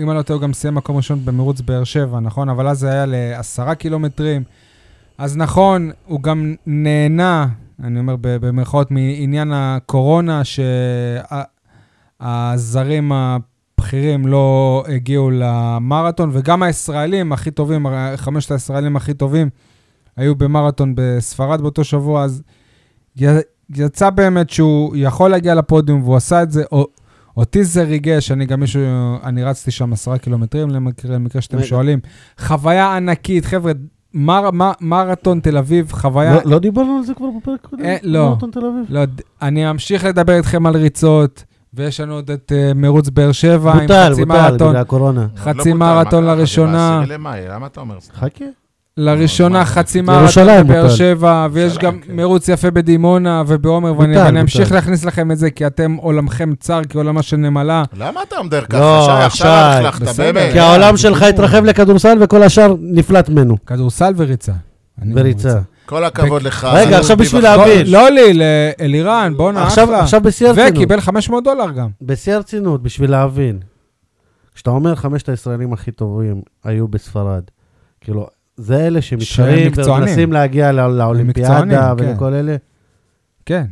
אם אני לא טועה, הוא גם סיים מקום ראשון במרוץ באר שבע, נכון? אבל אז זה היה לעשרה קילומטרים. אז נכון, הוא גם נהנה, אני אומר ב- במרכאות, מעניין הקורונה, שהזרים הבכירים לא הגיעו למרתון, וגם הישראלים הכי טובים, הרי חמשת הישראלים הכי טובים, היו במרתון בספרד באותו שבוע, אז י- יצא באמת שהוא יכול להגיע לפודיום, והוא עשה את זה. או- אותי זה ריגש, אני גם מישהו, אני רצתי שם עשרה קילומטרים, למקרה, למקרה שאתם
רגע.
שואלים. חוויה ענקית, חבר'ה, מר, מר, מרתון תל אביב, חוויה...
לא- לא דיברנו על זה כבר בפרק הקודם?
אה, לא.
מרתון תל אביב?
לא, ד- אני אמשיך לדבר איתכם על ריצות, ויש לנו עוד את אה, מרוץ באר שבע, עם
בוטל,
חצי
בוטל,
מרתון.
בגלל הקורונה.
חצי
לא בוטל,
מרתון
מה קרה?
לראשונה.
זה בעשירי למאי, למה אתה אומר? סתם?
חכה.
לראשונה
מה?
חצי מרתון
ירושלים
בבאר
בוטל.
שבע, ויש
ירושלים,
גם
כן.
מרוץ יפה בדימונה ובעומר, ואני
בוטל,
ואני אמשיך
בוטל.
להכניס לכם את זה, כי אתם עולמכם צר כעולמה של נמלה.
למה אתה אומר ככה?
לא,
שי,
שי,
עכשיו הלכת,
בסדר.
באמת.
כי
אה,
העולם
זה
שלך
ברור.
התרחב לכדורסל וכל השאר נפלט ממנו.
כדורסל וריצה. אני
בריצה.
כל הכבוד לך.
רגע, עכשיו
חביבי
בשביל
בחיים.
בוא-
להבין.
לא לי, לאלירן, בואנה,
עכשיו
אחלה.
עכשיו בשיא הרצינות,
וקיבל 500 דולר גם.
בשיא הרצינות, בשביל להבין. כשאתה אומר חמשת הישראלים הכי טובים היו בספרד, כאילו, זה אלה
שהם
שמתחרים
מקצוענים.
ומנסים להגיע לא- לאולימפיאדה
מקצוענים, כן.
ולכל אלה.
כן.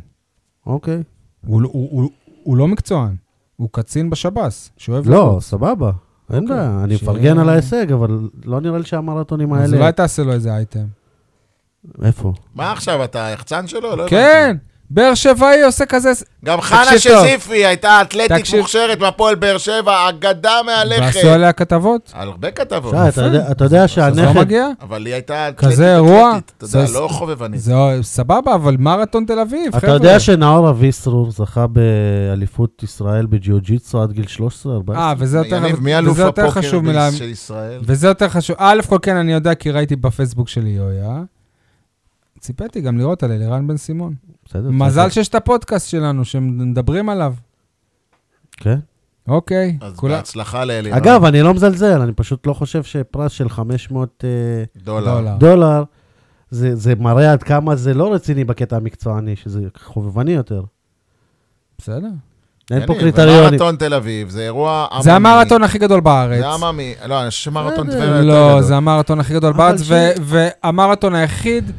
אוקיי.
הוא, לא- הוא, הוא, הוא לא מקצוען, הוא קצין בשב"ס, שאוהב...
לא, סבבה. אין
אוקיי.
בעיה, אני
ש-
מפרגן על ההישג, אבל לא נראה לי שהמרתונים
אז לא-
האלה...
אולי תעשה לו איזה
לא
אייטם.
איפה?
מה עכשיו, אתה יחצן שלו? לא
כן, באר שבעי עושה כזה... ס-
גם חנה
תקשיב טוב.
שזיפי הייתה אתלטית
תקשיב.
מוכשרת בהפועל באר שבע, אגדה מהלכת.
ועשו עליה כתבות,
על הרבה כתבות.
שי, אתה יודע- אתה יודע
אז לא
שהנכד...
מגיע?
אבל היא הייתה אתלטית.
כזה אירוע?
אתלטית, אתה יודע,
זה-
לא חובבנית.
זה סבבה, אבל מרתון תל אביב,
אתה
חבר'ה.
יודע שנאור אביסרור זכה באליפות ישראל בג'יוג'יצו עד גיל 13-14?
אה, וזה יותר,
יניב, מי אלוף
וזה יותר
הפוקר
חשוב מלה...
ביס- של ישראל?
וזה יותר חשוב. א' כל כן, אני יודע, כי ראיתי בפייסבוק שלי יויה. ציפיתי גם לראות על אלירן בן סימון.
בסדר.
מזל
צריך-
שיש את הפודקאסט שלנו, שמדברים עליו.
כן.
אוקיי.
אז
כולם-
בהצלחה
אה,
לאלירן.
אגב, אני לא מזלזל, אני פשוט לא חושב שפרס של 500 אה,
דולר.
דולר.
דולר, זה זה מראה עד כמה זה לא רציני בקטע המקצועני, שזה חובבני יותר.
בסדר. כן,
אין פה
אה,
יניב,
קריטריונים.
מרתון תל אביב, זה אירוע עממי.
זה המרתון הכי גדול בארץ.
זה עממי. לא, אני חושב שמרתון
בסדר.
טבריה יותר גדול.
לא, זה המרתון הכי גדול
אבל
בארץ,
ש-
ו- והמרתון היחיד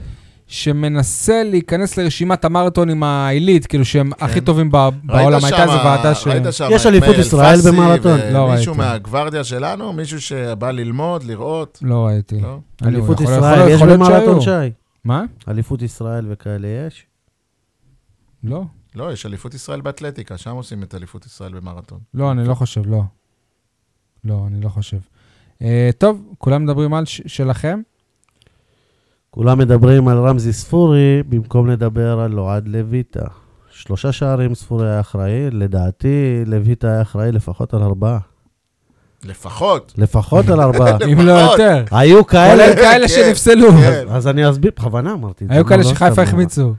שמנסה להיכנס לרשימת המרתונים העילית, כאילו שהם הכי טובים ב-
כן. ראית
בעולם. הייתה איזו
שמה-
ועדה ש...
ראית שמה
יש
את
אליפות
מאיר
ישראל
אלפסי
במרתון?
לא
ומישהו
ראיתי.
מהגוורדיה שלנו, מישהו שבא ללמוד, לראות,
לא ראיתי.
לא?
אני-
אליפות
אה, יכול-
ישראל,
יכול-
יש
יכול להיות
במרתון
שהיו.
שי.
מה?
אליפות ישראל וכאלה יש.
לא.
לא, יש אליפות ישראל באתלטיקה, שם עושים את אליפות ישראל במרתון.
לא, אני לא חושב, לא. לא, אני לא חושב. אה, טוב, כולם מדברים על ש- שלכם?
כולם מדברים על רמזי ספורי במקום לדבר על לועד לויטה. שלושה שערים ספורי היה אחראי, לדעתי לויטה היה אחראי לפחות על ארבעה.
לפחות.
לפחות על ארבעה.
אם לא יותר.
היו כאלה,
כולל כאלה
כן,
שנפסלו.
כן.
אז אני אסביר, בכוונה אמרתי את זה.
היו
מה,
כאלה
לא
שחיפה
סתם.
החמיצו.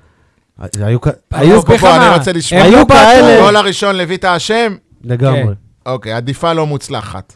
היו כאלה,
אני
בוא,
אסביר לך
בוא, אני
מה.
רוצה לשמוע.
הם
היו
לא בעטו.
כאלה.
גול הראשון לויטה אשם,
לגמרי.
אוקיי, עדיפה לא מוצלחת.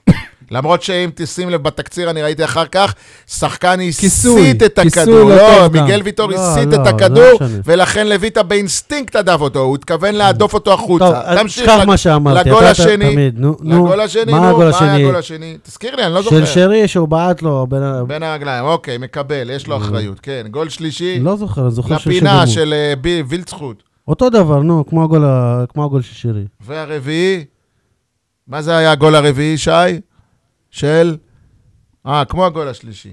למרות שאם תשים לב בתקציר, אני ראיתי אחר כך, שחקן
כיסוי,
הסית את
כיסוי
הכדור.
לא
לא,
טוב גם.
מיגל ויטור
לא,
הסית
לא,
את
זה
הכדור,
לא משנה.
ולכן לויטה באינסטינקט הדף אותו, הוא התכוון להדוף אותו
טוב,
החוצה.
אז
תמשיך,
תשכח מה שאמרתי,
לגול
אתה ת-
השני,
תמיד, נו, נו,
לגול השני,
מה
נו,
הגול
מה היה
השני?
הגול השני? תזכיר לי, אני לא
של
זוכר.
שרי שהוא בעט לו, בין ה-
בין הרגליים, אוקיי, מקבל, יש לו אחריות, כן. גול שלישי,
לא זוכר, אני זוכר של
לפינה
שרי.
של אה, בי- וילצחוט.
אותו דבר, נו, כמו הגול ה- כמו הגול של שרי.
והרביעי, מה זה היה הגול הרביעי, שי? של... אה, כמו הגול השלישי.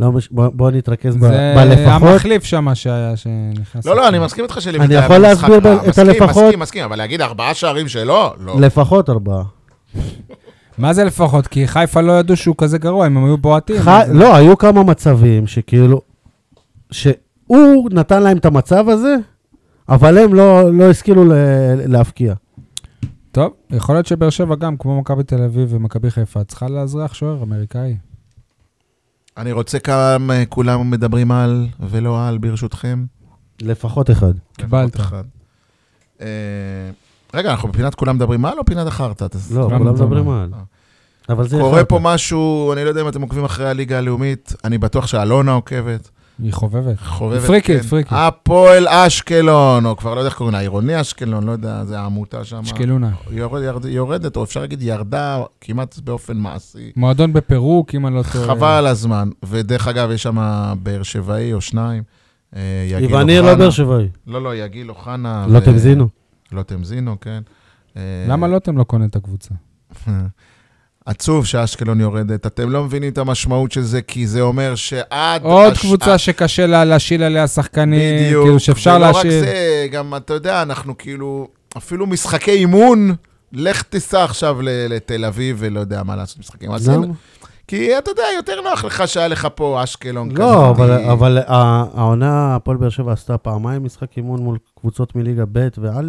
לא, מש- בוא בוא נתרכז ב-
זה
בלפחות.
המחליף שם שהיה, שנכנס.
לא, לא, אני
לפני.
מסכים איתך שלויטה
אני
היה
יכול
במשחק
להסביר
רע.
ב- את
מסכים,
הלפחות?
מסכים, מסכים, אבל להגיד ארבעה שערים שלו? לא.
לפחות ארבעה.
מה זה לפחות? כי חיפה לא ידעו שהוא כזה גרוע, אם הם היו בועטים.
ח- לא, היו כמה מצבים שכאילו, שהוא נתן להם את המצב הזה, אבל הם לא, לא השכילו ל- להבקיע.
טוב, יכול להיות שבאר שבע גם, כמו מכבי תל אביב ומכבי חיפה, צריכה לאזרח שוער אמריקאי.
אני רוצה כמה אה, כולם מדברים על ולא על, ברשותכם.
לפחות אחד.
קיבלת.
לפחות אחד. אה, רגע, אנחנו בפינת כולם מדברים על או פינת החרטא? תס-
לא,
כולם
כולם מדברים
מדברים.
על. אבל זה...
אה. קורה
אחד.
פה משהו, אני לא יודע אם אתם עוקבים אחרי הליגה הלאומית, אני בטוח שאלונה עוקבת.
היא חובבת.
חובבת, כן.
פריקית, פריקית.
הפועל אשקלון, או כבר לא יודע איך קוראים לה, עירוני אשקלון, לא יודע, זה העמותה שם.
אשקלונה.
יורד, ירד, יורדת, או אפשר להגיד ירדה כמעט באופן מעשי.
מועדון בפירוק, אם אני לא
כן.
טועה.
חבל על הזמן. ודרך אגב, יש שם באר שבעי או שניים. אה, יגיל
איווניר
אוחנה.
לא באר שבעי.
לא, לא, יגיל אוחנה.
לא
ו-
תמזינו.
לוטם זינו, כן. אה,
למה לוטם לא קונה את הקבוצה?
עצוב שאשקלון יורדת. אתם לא מבינים את המשמעות של זה, כי זה אומר שעד...
עוד
הש-
קבוצה שקשה לה להשיל עליה שחקנים,
אה, בדיוק.
כאילו שאפשר
ולא רק
להשיל.
זה, גם, אתה יודע, אנחנו כאילו, אפילו משחקי אימון, לך תיסע עכשיו ל- לתל אביב ולא יודע מה לא לעשות משחקים. אז
למה?
אין- כי אתה יודע, יותר נוח לך שהיה לך פה אשקלון כזה.
לא, אבל- אבל ה- העונה, הפועל באר שבע עשתה פעמיים משחק אימון מול קבוצות מליגה ב' וא'. אז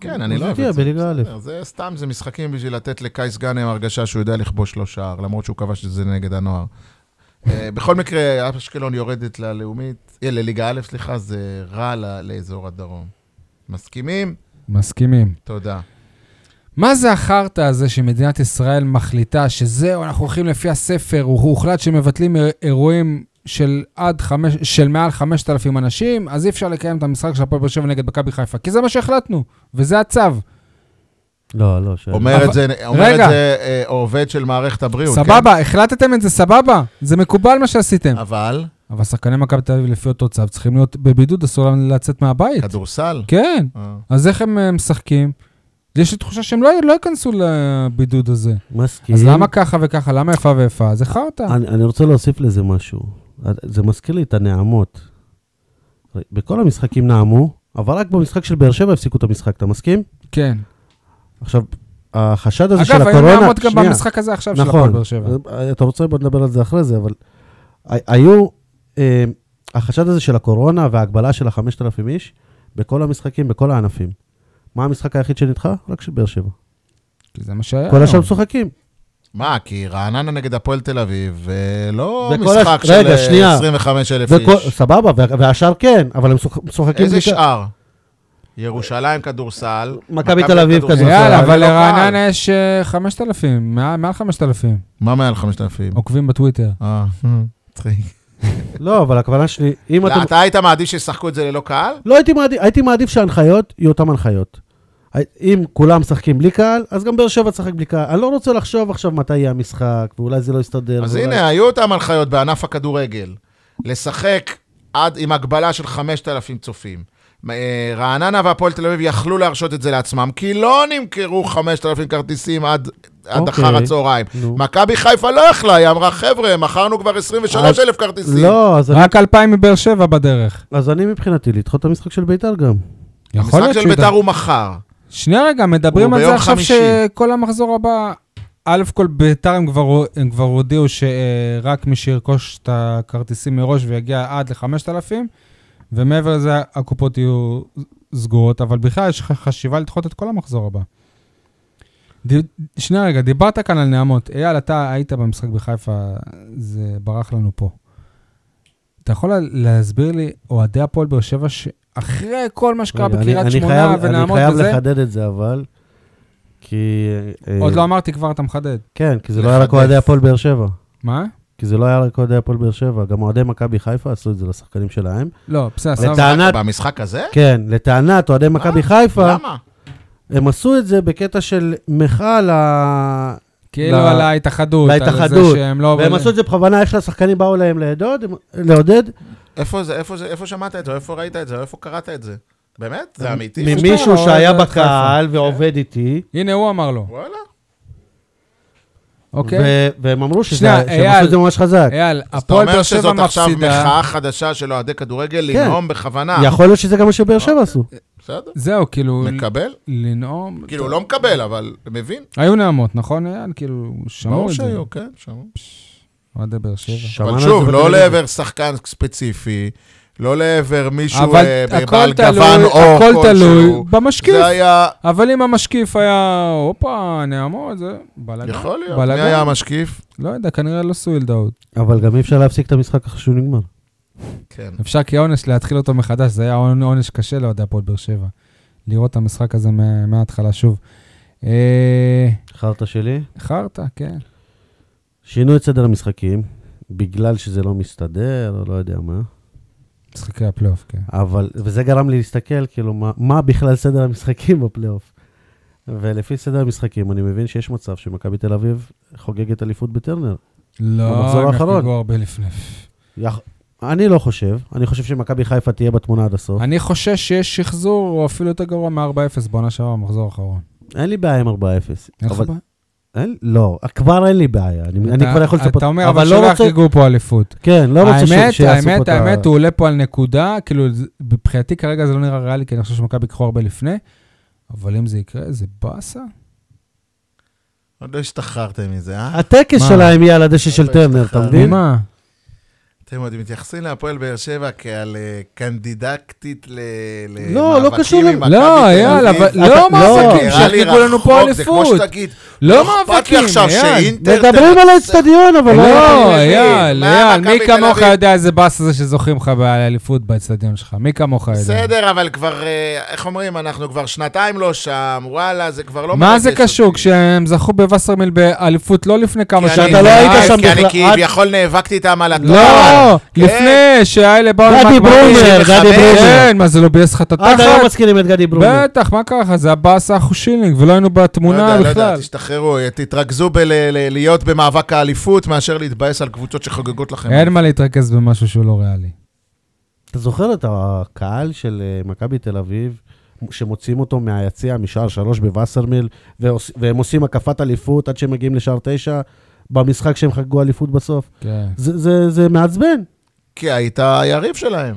כן, אני
אז
לא אוהב
תהיה
את זה.
בליגה א'.
בסדר, זה סתם, זה משחקים בשביל לתת לקייס גאנם הרגשה שהוא יודע לכבוש לו שער, למרות שהוא כבש את זה נגד הנוער. אה, בכל מקרה, אשקלון יורדת ללאומית, אה, לליגה א', סליחה, זה רע ל- לאזור הדרום. מסכימים?
מסכימים.
תודה.
כן.
מה זה החרטא הזה שמדינת ישראל מחליטה שזהו, אנחנו הולכים לפי הספר, הוא הוא הוחלט שמבטלים אירוע- אירועים של, עד חמש, של מעל 5,000 אנשים, אז אי אפשר לקיים את המשחק של הפועל באר שבע נגד מכבי חיפה, כי זה מה שהחלטנו, וזה הצו.
לא, לא, שואל.
אומר
אבל-
את זה אומר
רגע.
את זה אה, עובד של מערכת הבריאות, כן?
סבבה, החלטתם את זה, סבבה. זה מקובל מה שעשיתם.
אבל
אבל שחקני מכבי תל אביב לפי אותו צו צריכים להיות בבידוד, אסור להם לצאת מהבית.
כדורסל?
כן,
אה.
אז איך הם אה, משחקים? יש לי תחושה שהם לא לא ייכנסו לבידוד הזה.
מסכים.
אז למה ככה וככה? למה איפה ואיפה? זה חרטא.
אני, אני רוצה להוסיף לזה משהו. זה מזכיר לי את הנעמות. בכל המשחקים נעמו, אבל רק במשחק של באר שבע הפסיקו את המשחק, אתה מסכים?
כן.
עכשיו, החשד הזה של
אגב,
הקורונה...
היו נעמוד גם
שנייה.
במשחק הזה עכשיו של הפועל באר שבע.
נכון. אתה רוצה, בוא נדבר על זה אחרי זה, אבל ה- היו, אה, החשד הזה של הקורונה וההגבלה של ה-5,000 איש, בכל המשחקים, בכל הענפים. מה המשחק היחיד שנדחה? רק של באר שבע.
כי זה מה שהיה.
כל השאר
היום.
משוחקים.
מה, כי רעננה נגד הפועל תל אביב, אה, לא
וכל
משחק
הש-
של
רגע,
אה,
שנייה.
25,000
וכל-
איש.
סבבה, וה- והשאר כן, אבל הם משוח- משוחקים...
איזה
בלי-
אה. שאר? ירושלים כדורסל.
מכבי תל אביב כדורסל.
יאללה,
זה
אבל
לא קל.
לרעננה יש אה, 5,000, מעל מעל 5,000
מה מעל 5,000?
עוקבים בטוויטר.
אוקיי. אה, מצחיק.
לא, אבל הכוונה שלי, אם אתם...
אתה היית מעדיף שישחקו את זה ללא קהל?
לא הייתי מעדיף, הייתי מעדיף שההנחיות יהיו אותן הנחיות. הי- אם כולם משחקים בלי קהל, אז גם באר שבע תשחק בלי קהל. אני לא רוצה לחשוב עכשיו מתי יהיה המשחק, ואולי זה לא יסתדר.
אז
ואולי-
הנה, היו אותם הנחיות בענף הכדורגל. לשחק עד עם הגבלה של 5,000 צופים. אה, רעננה והפועל תל אביב יכלו להרשות את זה לעצמם, כי לא נמכרו 5,000 כרטיסים עד, עד
אוקיי.
אחר הצהריים.
נו.
מכבי חיפה לא יכלה, היא אמרה, חבר'ה, מכרנו כבר 23,000 כרטיסים.
לא, אז אני-
רק 2,000 מבאר שבע בדרך.
אז אני מבחינתי לדחות את המשחק של ביתר גם.
יכול
המשחק
להיות
של
שהוא...
ביתר
ידע-
הוא מחר.
שנייה רגע, מדברים
הוא
על זה
ביום
עכשיו
חמישי.
שכל המחזור הבא... א' כל ביתר הם כבר, הם כבר הודיעו שרק מי שירכוש את הכרטיסים מראש ויגיע עד ל-5,000, ומעבר לזה הקופות יהיו סגורות, אבל בכלל יש ח- חשיבה לדחות את כל המחזור הבא. ד... שנייה רגע, דיברת כאן על נעמות. אייל, אתה היית במשחק בחיפה, זה ברח לנו פה. אתה יכול לה- להסביר לי, אוהדי הפועל באר שבע, שאחרי כל מה שקרה
רגע, אני-
בקריית
אני
שמונה
חייב-
ונעמות
אני
וזה,
חייב לחדד את זה, אבל... כי... אה,
עוד לא אמרתי כבר, אתה מחדד.
כן, כי זה לא היה רק
לחדד.
אוהדי הפועל באר שבע.
מה?
כי זה לא היה רק אוהדי הפועל באר שבע, גם אוהדי מכבי חיפה עשו את זה לשחקנים שלהם.
לא, בסדר, סבבה.
לטענת,
במשחק הזה?
כן, לטענת אוהדי מכבי חיפה,
למה?
הם עשו את זה בקטע של מחאה ל...
כאילו
ל-
על ההתאחדות, על זה
להתאחדות.
שהם לא...
לא, והם עשו את זה בכוונה, איך שהשחקנים באו להם לעודד, לעודד.
איפה זה, איפה זה, איפה שמעת את זה, איפה ראית את זה, איפה קראת את זה? באמת? זה אמיתי?
ממישהו
שאתה לא
שהיה
אוהד את
בקהל ועובד איתי,
הנה, הוא אמר לו,
וואלה.
אוקיי?
ו- והם אמרו שזה-
שנייה,
שהם עשו את זה
אייל.
ממש חזק.
אייל,
אז אתה
הפועל באר
אומר
שבע
שזאת עכשיו
מפסידה.
מחאה חדשה של אוהדי כדורגל
כן.
לנאום בכוונה.
יכול להיות שזה גם מה שבאר שבע עשו.
בסדר,
זהו, כאילו,
מקבל.
לנאום...
כאילו, לא מקבל, אבל מבין.
היו נעמות, נכון, אייל? כאילו, שמעו
ברור
את זה.
שהיו, כן, שמעו.
אוהדי באר שבע.
שמענו
אבל
את
שוב,
זה
לא
בטלוויזיה.
לעבר שחקן ספציפי, לא לעבר מישהו
אבל
אה,
הכל
בעל גוון
תלוי,
אור
הכל תלוי
כלשהו.
במשקיף.
זה היה,
אבל אם המשקיף היה, הופה, נעמות, זה בלאגן.
יכול להיות. מי
בלאגן.
היה המשקיף?
לא יודע, כנראה לא סויל דאוד.
אבל גם אי אפשר להפסיק את המשחק אחרי שהוא נגמר.
כן.
אפשר כעונש להתחיל אותו מחדש, זה היה עונ- עונש קשה לאוהדי הפועל באר שבע. לראות את המשחק הזה מה- מההתחלה שוב. אה,
חרטא שלי.
חרטא, כן.
שינו את סדר המשחקים, בגלל שזה לא מסתדר, או לא יודע מה.
משחקי הפלייאוף, כן.
אבל, וזה גרם לי להסתכל, כאילו, מה, מה בכלל סדר המשחקים בפלייאוף. ולפי סדר המשחקים, אני מבין שיש מצב שמכבי תל אביב חוגגת אליפות בטרנר.
לא,
במחזור
הם
האחרון.
יחגגו הרבה לפני.
יח... אני לא חושב, אני חושב שמכבי חיפה תהיה בתמונה עד הסוף.
אני חושש שיש שחזור, או אפילו יותר גרוע מ-4-0 בעונה שעברה, במחזור האחרון.
אין לי בעיה עם 4-0.
אין לך
אבל-
בעיה?
אין, לא, כבר אין לי בעיה, אני, אני
אתה-
כבר יכול לצפות. לא
אתה אומר, אבל שלא יחגגו פה אליפות.
כן, לא רוצה ש-
האמת,
שיעשו פה
האמת,
את
האמת, הוא עולה פה על נקודה, כאילו, זה- מבחינתי כרגע זה לא נראה ריאלי, כי אני חושב שמכבי ייקחו הרבה לפני, אבל אם זה יקרה, זה באסה.
עוד לא השתחררתם מזה, אה?
הטקס
מה? אה,
שלהם יהיה על הדשא של
אבל
טרנר,
יש לך-
אתה מבין?
מה?
אתם עוד מתייחסים להפועל באר שבע כעל אה, קנדידקטית ל...
לא, לא קשור ל-
לא, אייל, אבל לא
לא,
מאבקים,
נראה
שיחגגו לנו פה
זה כמו
אליפות.
שתגיד,
לא
אכפת לי
מאבקים,
עכשיו
אייל.
שאינטר...
מדברים על האצטדיון, אבל
לא,
אני מבין.
אייל,
מה,
אייל, מי
מכבי תל
כמוך
אביב?
יודע איזה באס זה שזוכים לך באליפות באצטדיון שלך? מי כמוך יודע?
בסדר, אבל כבר, אה, איך אומרים, אנחנו כבר שנתיים לא שם, וואלה, זה כבר לא
מה זה
מרגש
קשור?
אותי.
כשהם זכו בווסרמיל באליפות לא לפני כמה
כי
שנים.
שאתה לא
אני-
היית
אז-
שם
כי אני
בכלל.
כביכול נאבקתי איתם על התואר.
לא, לא,
כן.
לפני שהאלה באו
גדי
למכבי.
ברומר, גדי ברומר. אה,
כן, מה זה לא ביאס לך את
עד היום
התחת?
מזכירים את גדי ברומר.
בטח, מה קרה לך? זה הבאסה אחושילינג, ולא היינו
לא יודע,
בתמונה
לא יודע,
בכלל.
תשתחררו, תתרכזו בלהיות במאבק האליפות, מאשר להתבאס על קבוצות שחוגגות לכם.
אין מה להתרכז במשהו שהוא לא ריאלי.
אתה זוכר את הקהל של אה, מכבי תל אביב, שמוציאים אותו מהיציע משער שלוש בווסרמיל, ועוש- והם עושים הקפת אליפות עד שהם מגיעים לשער תשע, במשחק שהם חגגו אליפות בסוף?
כן.
זה- זה זה מעצבן.
כי היית היריב שלהם.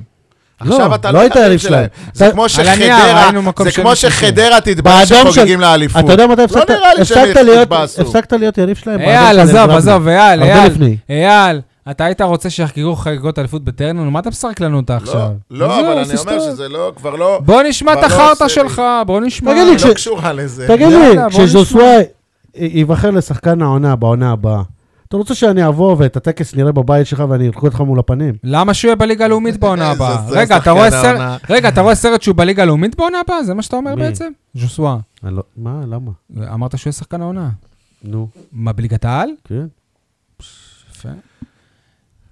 לא,
עכשיו אתה
לא היית היריב שלהם.
זה
אתה-
כמו
הנייר,
שחדרה,
היינו מקום
זה
שני,
כמו
שלישי.
שחדרה תתבאס
באדום
שחוגגים
של-
לאליפות.
אתה יודע מתי הפסקת?
לא נראה לי שהם
הפסקת להיות-
התבאסו.
הפסקת להיות יריב אה, שלהם?
אייל,
באדום של
עזוב,
אלברמי.
אה, עזוב, אייל,
הרבה
אייל.
לפני.
אייל, אתה היית רוצה שיחגגו חגיגות אליפות בטרנר? מה אתה מסרק לנו אותה
לא,
עכשיו?
לא,
עזוב,
אבל אני
עושה
אומר
סטורי.
שזה לא, כבר לא,
בוא נשמע את
כבר לא עושה
החרטא
לי.
שלך, בוא נשמע.
תגיד לי,
היא לא
כש-
קשורה לזה.
תגיד
יאללה,
לי,
בוא
כשז'וסווה ייבחר לשחקן העונה בעונה הבאה, אתה רוצה שאני אבוא ואת הטקס נראה בבית שלך ואני ארקוד לך מול הפנים?
למה שהוא יהיה בליגה הלאומית בעונה
איזה
הבאה?
זה
רגע, אתה
שחקן
רואה סרט-
העונה.
רגע, אתה רואה סרט שהוא בליגה הלאומית בעונה הבאה? זה מה שאתה אומר
מי?
בעצם? ז'וסווה,
אני לא- מה, למה?
אמרת שהוא יהיה שחקן העונה.
נו,
מה, בליגת העל?
כן.
יפה.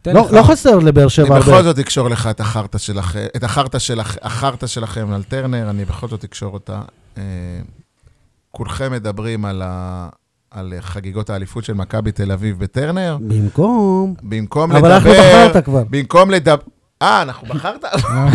תן
לא
לך.
לא חסר לבאר שבע
אני
הרבה.
בכל זאת אקשור לך את החרטא שלכם, את החרטא שלכ- החרטא שלכם על טרנר, אני בכל זאת אקשור אותה. אה, כולכם מדברים על ה- על חגיגות האליפות של מכבי תל אביב בטרנר.
במקום...
במקום
אבל אנחנו
לדבר...
בחרת כבר.
במקום לדבר... אה, אנחנו בחרת?
אה.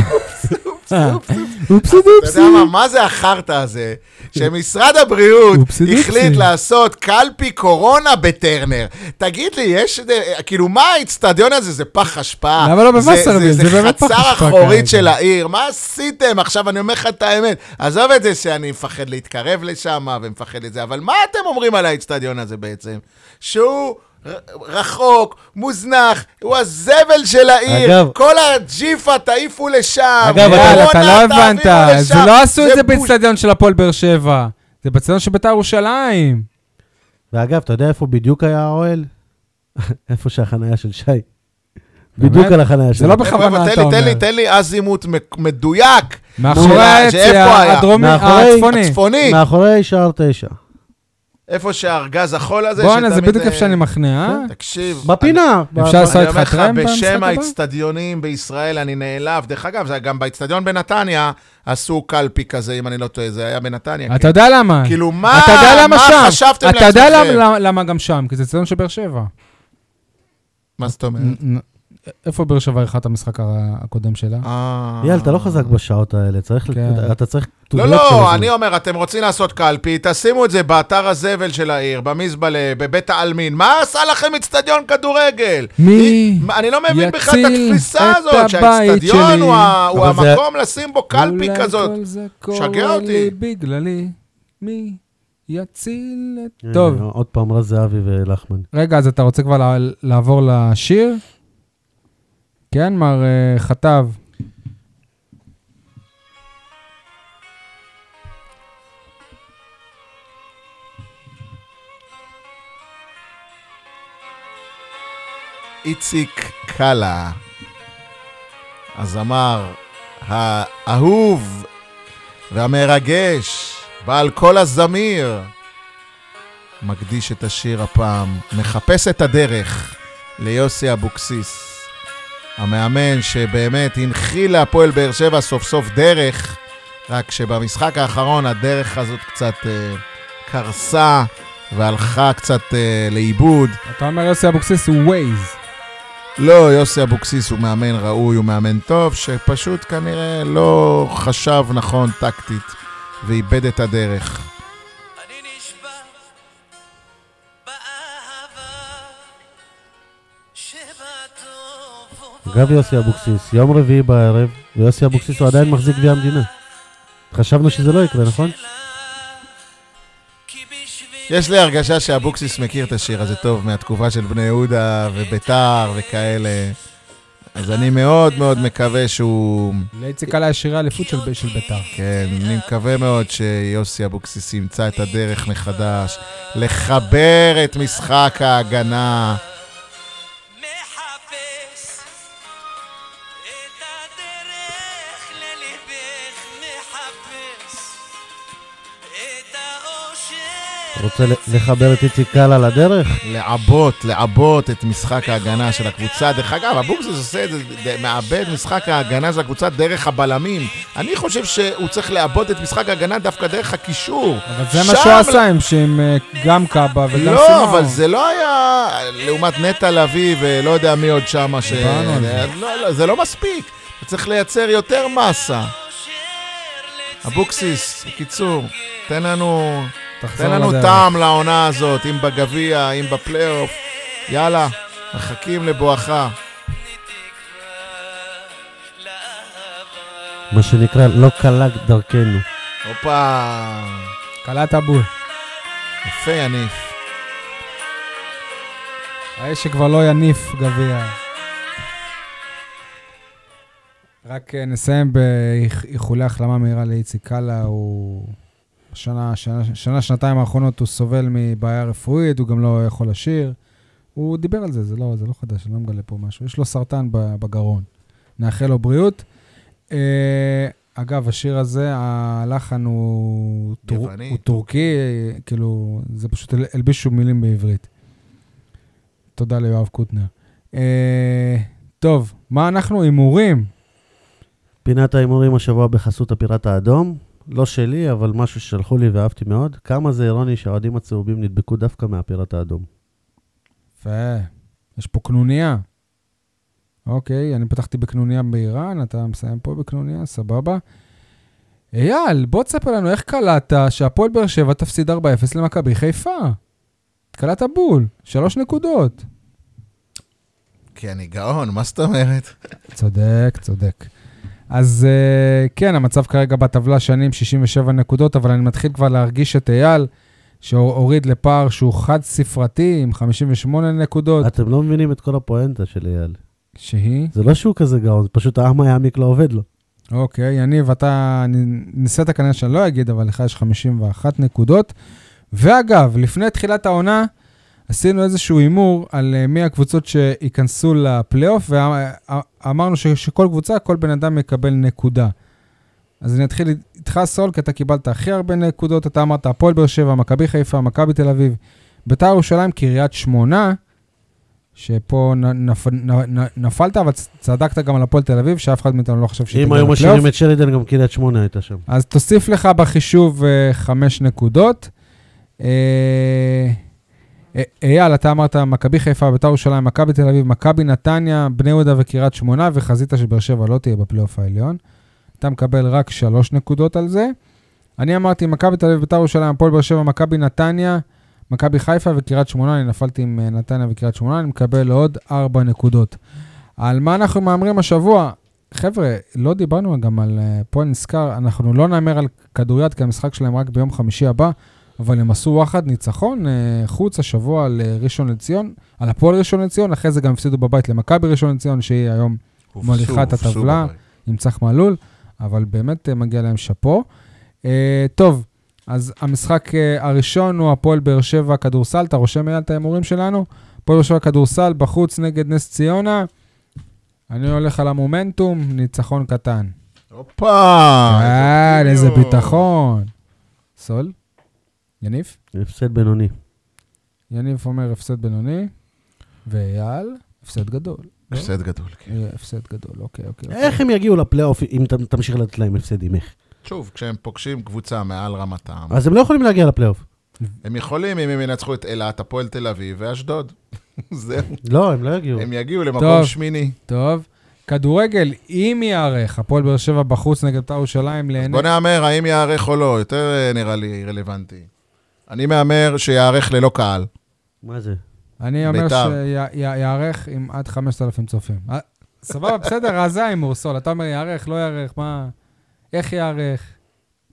אופסי
אתה
דופסי.
יודע מה, מה זה החרטא הזה? שמשרד הבריאות
אופסי דופסי.
החליט לעשות קלפי קורונה בטרנר. תגיד לי, יש... אה, כאילו, מה האיצטדיון הזה? זה פח אשפה.
למה לא בווסרמיל? זה באמת פח
זה
אשפה
חצר
כרגע.
אחורית של העיר. מה עשיתם? עכשיו, אני אומר לך את האמת. עזוב את זה שאני מפחד להתקרב לשם ומפחד את זה, אבל מה אתם אומרים על האיצטדיון הזה בעצם? שהוא... ר- רחוק, מוזנח, הוא הזבל של העיר,
אגב-
כל הג'יפה תעיפו לשם.
אגב,
קורונה,
אייל, אתה לא
תעבירו
הבנת,
לשם.
זה לא עשו את זה
בושה.
באצטדיון של הפועל באר שבע. זה באצטדיון של בית"ר ירושלים.
ואגב, אתה יודע איפה בדיוק היה האוהל? איפה שהחנייה של שי.
באמת?
בדיוק על החנייה
זה
שלו.
לא
איפה,
בכוונה,
איפה?
אתה
תן לי, תן לי,
אומר.
תן לי אזימות מק- מדויק. נו,
מאחורי
שאיפה
היציאה
היה?
הדרומי,
מאחורי-
הצפוני.
הצפוני.
מאחורי שער תשע.
איפה שהארגז החול הזה,
בואנה, זה
שתמיד,
בדיוק
אה, כן,
איפה שאני מחנה, אה?
תקשיב.
בפינה. ב-
אפשר
ב-
לעשות-
אני
עשה
אומר
איתך
לך,
טרמפ במשחק
בשם
הבא?
האצטדיונים בישראל אני נעלב. דרך אגב, זה היה גם באצטדיון בנתניה עשו קלפי כזה, אם אני לא טועה, זה היה בנתניה.
אתה יודע למה.
כאילו, מה-
אתה יודע למה
מה
שם?
חשבתם
אתה יודע
לעצמכם?
למה- למה גם שם? כי זה אצטדיון של באר שבע.
מה זאת אומרת?
נ- נ- איפה באר שבע אירחה את המשחק ה- הקודם שלה?
אה.
יאללה, אתה לא חזק בשעות האלה, צריך...
כן.
אתה צריך... to
לא,
block כל
לא,
הזמן.
אני אומר, אתם רוצים לעשות קלפי, תשימו את זה באתר הזבל של העיר, במזבלה, בבית העלמין. מה עשה לכם אצטדיון כדורגל?
מי
היא- מה, אני לא מבין בכלל את
יציל
התפיסה
את
הזאת,
הבית
שהאצטדיון
שלי?
הוא ה- הוא
אבל זה-
המקום לשים בו קלפי
אולי
כזאת.
כל זה
שגע
קורה
אותי.
לי בגללי, מי יציל את...
הנה,
טוב,
עוד פעם רז זהבי ולחמן.
רגע, אז אתה רוצה כבר לע- לעבור לשיר? כן, מר אה, חטב.
איציק קאלה, הזמר האהוב והמרגש, בעל קול הזמיר, מקדיש את השיר הפעם, מחפש את הדרך ליוסי אבוקסיס, המאמן שבאמת הנחיל להפועל באר שבע סוף סוף דרך, רק שבמשחק האחרון הדרך הזאת קצת אה, קרסה והלכה קצת אה, לאיבוד.
אתה אומר יוסי אבוקסיס הוא ווייז.
לא, יוסי אבוקסיס הוא מאמן ראוי, הוא מאמן טוב, שפשוט כנראה לא חשב נכון טקטית ואיבד את הדרך.
אני נשבע באהבה שבטוב
אגב יוסי אבוקסיס, יום רביעי בערב, ויוסי אבובקסיס הוא עדיין מחזיק גביע המדינה. חשבנו שזה לא יקרה, נכון?
כי בשביל
יש לי הרגשה שאבוקסיס מכיר את השיר הזה טוב מהתקופה של בני יהודה וביתר וכאלה. אז אני מאוד מאוד מקווה שהוא...
לאיציק עלה ישירי אליפות של ב- של בית"ר.
כן, אני מקווה מאוד שיוסי אבוקסיס ימצא את הדרך מחדש לחבר את משחק ההגנה.
מחפש את הדרך לליבך מחפש את האושר
רוצה ל- לחבר את איציק קאלה לדרך?
לעבות, לעבות את משחק ההגנה של הקבוצה. דרך אגב, אבוקסיס עושה את זה, ד- מאבד משחק ההגנה של הקבוצה דרך הבלמים. אני חושב שהוא צריך לעבות את משחק ההגנה דווקא דרך הקישור.
אבל זה מה
שם-
שהוא עשה עם שעם אה, גם קאבה וגם סימאו.
לא, אבל זה לא היה לעומת נטע לביא ולא יודע מי עוד שמה ש...
דיברנו על זה.
לא, לא, זה לא מספיק. אתה צריך לייצר יותר מסה. אבוקסיס, בקיצור, תן לנו,
תחזור
תן לנו
לדרך.
טעם לעונה הזאת, אם בגביע, אם בפלייאוף. יאללה, מחכים לבואכה.
מה שנקרא, לא קלה דרכנו.
הופה,
קלעת בול.
יפה יניף.
האש שכבר לא יניף גביע. רק אה, נסיים באיחולי החלמה מהירה לאיציק קאלה, הוא... שנה, שנה, שנה, שנתיים האחרונות הוא סובל מבעיה רפואית, הוא גם לא יכול לשיר. הוא דיבר על זה, זה לא, זה לא חדש, אני לא מגלה פה משהו. יש לו סרטן ב- בגרון. נאחל לו בריאות. אה, אגב, השיר הזה, הלחן הוא, טור,
יווני.
הוא טורקי, אה, כאילו, זה פשוט הל- הלבישו מילים בעברית. תודה ליואב קוטנר. אה, טוב, מה אנחנו? הימורים.
פינת ההימורים השבוע בחסות הפיראט האדום. לא שלי, אבל משהו ששלחו לי ואהבתי מאוד. כמה זה אירוני שהאוהדים הצהובים נדבקו דווקא מהפיראט האדום.
יפה. יש פה קנוניה. אוקיי, אני פתחתי בקנוניה באיראן, אתה מסיים פה בקנוניה, סבבה. אייל, בוא תספר לנו איך קלעת שהפועל באר שבע תפסיד 4-0 למכבי חיפה. קלעת בול, שלוש נקודות.
כי אני גאון, מה זאת אומרת?
צודק, צודק. אז אה, כן, המצב כרגע בטבלה שנים 67 נקודות, אבל אני מתחיל כבר להרגיש את אייל, שהוריד לפער שהוא חד-ספרתי עם 58 נקודות,
אתם לא מבינים את כל הפואנטה של אייל.
שהיא...
זה לא שהוא כזה גאון, זה פשוט העם היעמיק לא עובד לו.
אוקיי, יניב, אתה נ- ניסית כנראה שאני לא אגיד, אבל לך יש 51 נקודות. ואגב, לפני תחילת העונה, עשינו איזשהו הימור על אה, מי הקבוצות שייכנסו לפלייאוף, ואמרנו ש- שכל קבוצה, כל בן אדם יקבל נקודה. אז אני אתחיל איתך, סול, כי אתה קיבלת הכי הרבה נקודות, אתה אמרת הפועל באר שבע, מכבי חיפה, מכבי תל אביב, ביתר ירושלים, קריית שמונה, שפה נ- נפ- נ- נ- נפלת, אבל צ- צדקת גם על הפועל תל אביב, שאף אחד מאיתנו לא חשב שהיא
אם
תגיע
היו
לפלייאוף.
משאירים את שרידן, גם קריית שמונה הייתה שם.
אז תוסיף לך בחישוב אה, חמש נקודות. אה, אה, אייל, אתה אמרת מכבי חיפה, בית"ר ירושלים, מכבי תל אביב, מכבי נתניה, בני יהודה וקריית שמונה, וחזית שבאר שבע לא תהיה בפלייאוף העליון. אתה מקבל רק שלוש נקודות על זה. אני אמרתי, מכבי תל אביב, בית"ר ירושלים, הפועל באר שבע, מכבי נתניה, מכבי חיפה וקריית שמונה, אני נפלתי עם אה, נתניה וקריית שמונה, אני מקבל עוד ארבע נקודות. על מה אנחנו מהמרים השבוע? חבר'ה, לא דיברנו גם על... אה, פה נזכר, אנחנו לא נאמר על כדוריד, כי המשחק שלהם רק ביום חמישי הבא, אבל הם עשו וואחד ניצחון אה, חוץ השבוע על אה, ראשון לציון, על הפועל ראשון לציון, אחרי זה גם הפסידו בבית למכבי ראשון לציון, שהיא היום מוליכת
הופסו, הופסו
הטבלה.
בבית.
עם צח מלול, אבל באמת אה, מגיע להם שאפו. אה, טוב, אז המשחק אה, הראשון הוא הפועל באר שבע כדורסל, אתה רושם מעל את ההימורים שלנו? הפועל באר שבע כדורסל בחוץ נגד נס ציונה. אני הולך על המומנטום, ניצחון קטן.
הופה!
אה, איזה
אופטימיות.
ביטחון. סול? יניב?
הפסד בינוני.
יניב אומר הפסד בינוני, ואייל, הפסד גדול. לא?
הפסד גדול, כן.
אה, הפסד גדול, אוקיי, אוקיי.
אה.
אוקיי.
איך הם יגיעו לפלייאוף אם ת- תמשיך לתת להם הפסדים? איך?
שוב, כשהם פוגשים קבוצה מעל רמתם,
אז הם לא יכולים להגיע לפלייאוף.
הם יכולים אם הם ינצחו את אילת, הפועל תל אביב ואשדוד. זהו,
לא, הם לא יגיעו.
הם יגיעו למקום
טוב.
שמיני.
טוב. כדורגל, אם ייערך, הפועל באר שבע בחוץ נגד בית"ר ירושלים, לעיני...
בוא נהמר האם ייערך או לא, יותר אה, נראה לי רלוונטי. אני מהמר שייערך ללא קהל.
מה זה?
אני אומר
בית"ר.
שייערך עם עד 5,000 צופים. אה, סבבה, בסדר, אז זה ההימור, סול. אתה אומר ייערך, לא ייערך, מה... איך ייערך?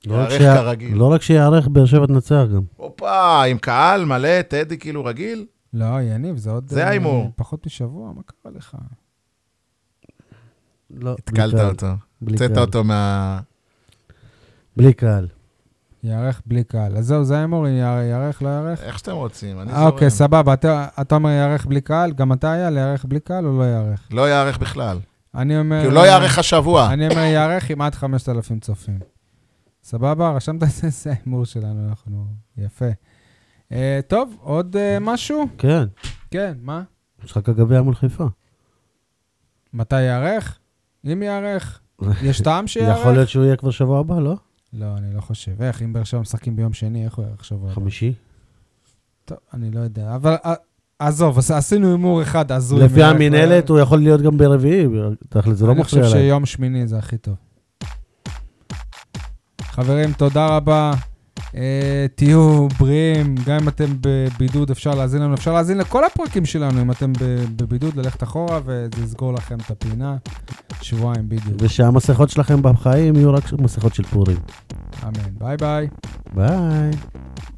לא רק
יערך
שיה-
כרגיל.
לא רק שיערך, באר שבע תנצח גם.
הופה, עם קהל מלא, טדי כאילו רגיל?
לא, יניב, זה עוד...
זה
אה,
ההימור.
פחות משבוע, מה קרה לך?
לא, בלי
התקלת
קהל.
אותו.
בלי
הוצאת
קהל.
אותו מה...
בלי קהל.
ייערך בלי קהל. אז זהו, זה ההימור, ייע- ייערך, לא ייערך?
איך שאתם רוצים, אני
אה, אוקיי,
זורם.
סבבה. אתה אתה אומר ייערך בלי קהל, גם אתה היה ייערך בלי קהל או לא ייערך?
לא ייערך בכלל.
אני אומר...
כאילו, לא ייערך השבוע.
אני אומר ייערך עם עד 5,000 צופים. סבבה? רשמת את זה? זה ההימור שלנו, אנחנו... יפה. אה, טוב, עוד אה, משהו?
כן,
כן, מה?
משחק הגביע מול חיפה.
מתי ייערך? אם ייערך? יש טעם שייערך?
יכול להיות שהוא יהיה כבר שבוע הבא, לא?
לא, אני לא חושב. איך, אם באר שבע משחקים ביום שני, איך הוא יערך שבוע? הבא?
חמישי.
טוב, אני לא יודע. אבל אה, עזוב, עש- עשינו הימור אחד הזוי.
לפי
ייערך,
המינהלת
לא-
הוא יכול להיות גם ברביעי, תכל'ס, זה לא מפריע
אני חושב
להם.
שיום שמיני זה הכי טוב. חברים, תודה רבה. אה, תהיו בריאים, גם אם אתם בבידוד אפשר להאזין לנו, אפשר להאזין לכל הפרקים שלנו, אם אתם ב- בבידוד, ללכת אחורה וזה יסגור לכם את הפינה. שבועיים בדיוק.
ושהמסכות שלכם בחיים יהיו רק מסכות של פורים.
אמן. ביי ביי.
ביי.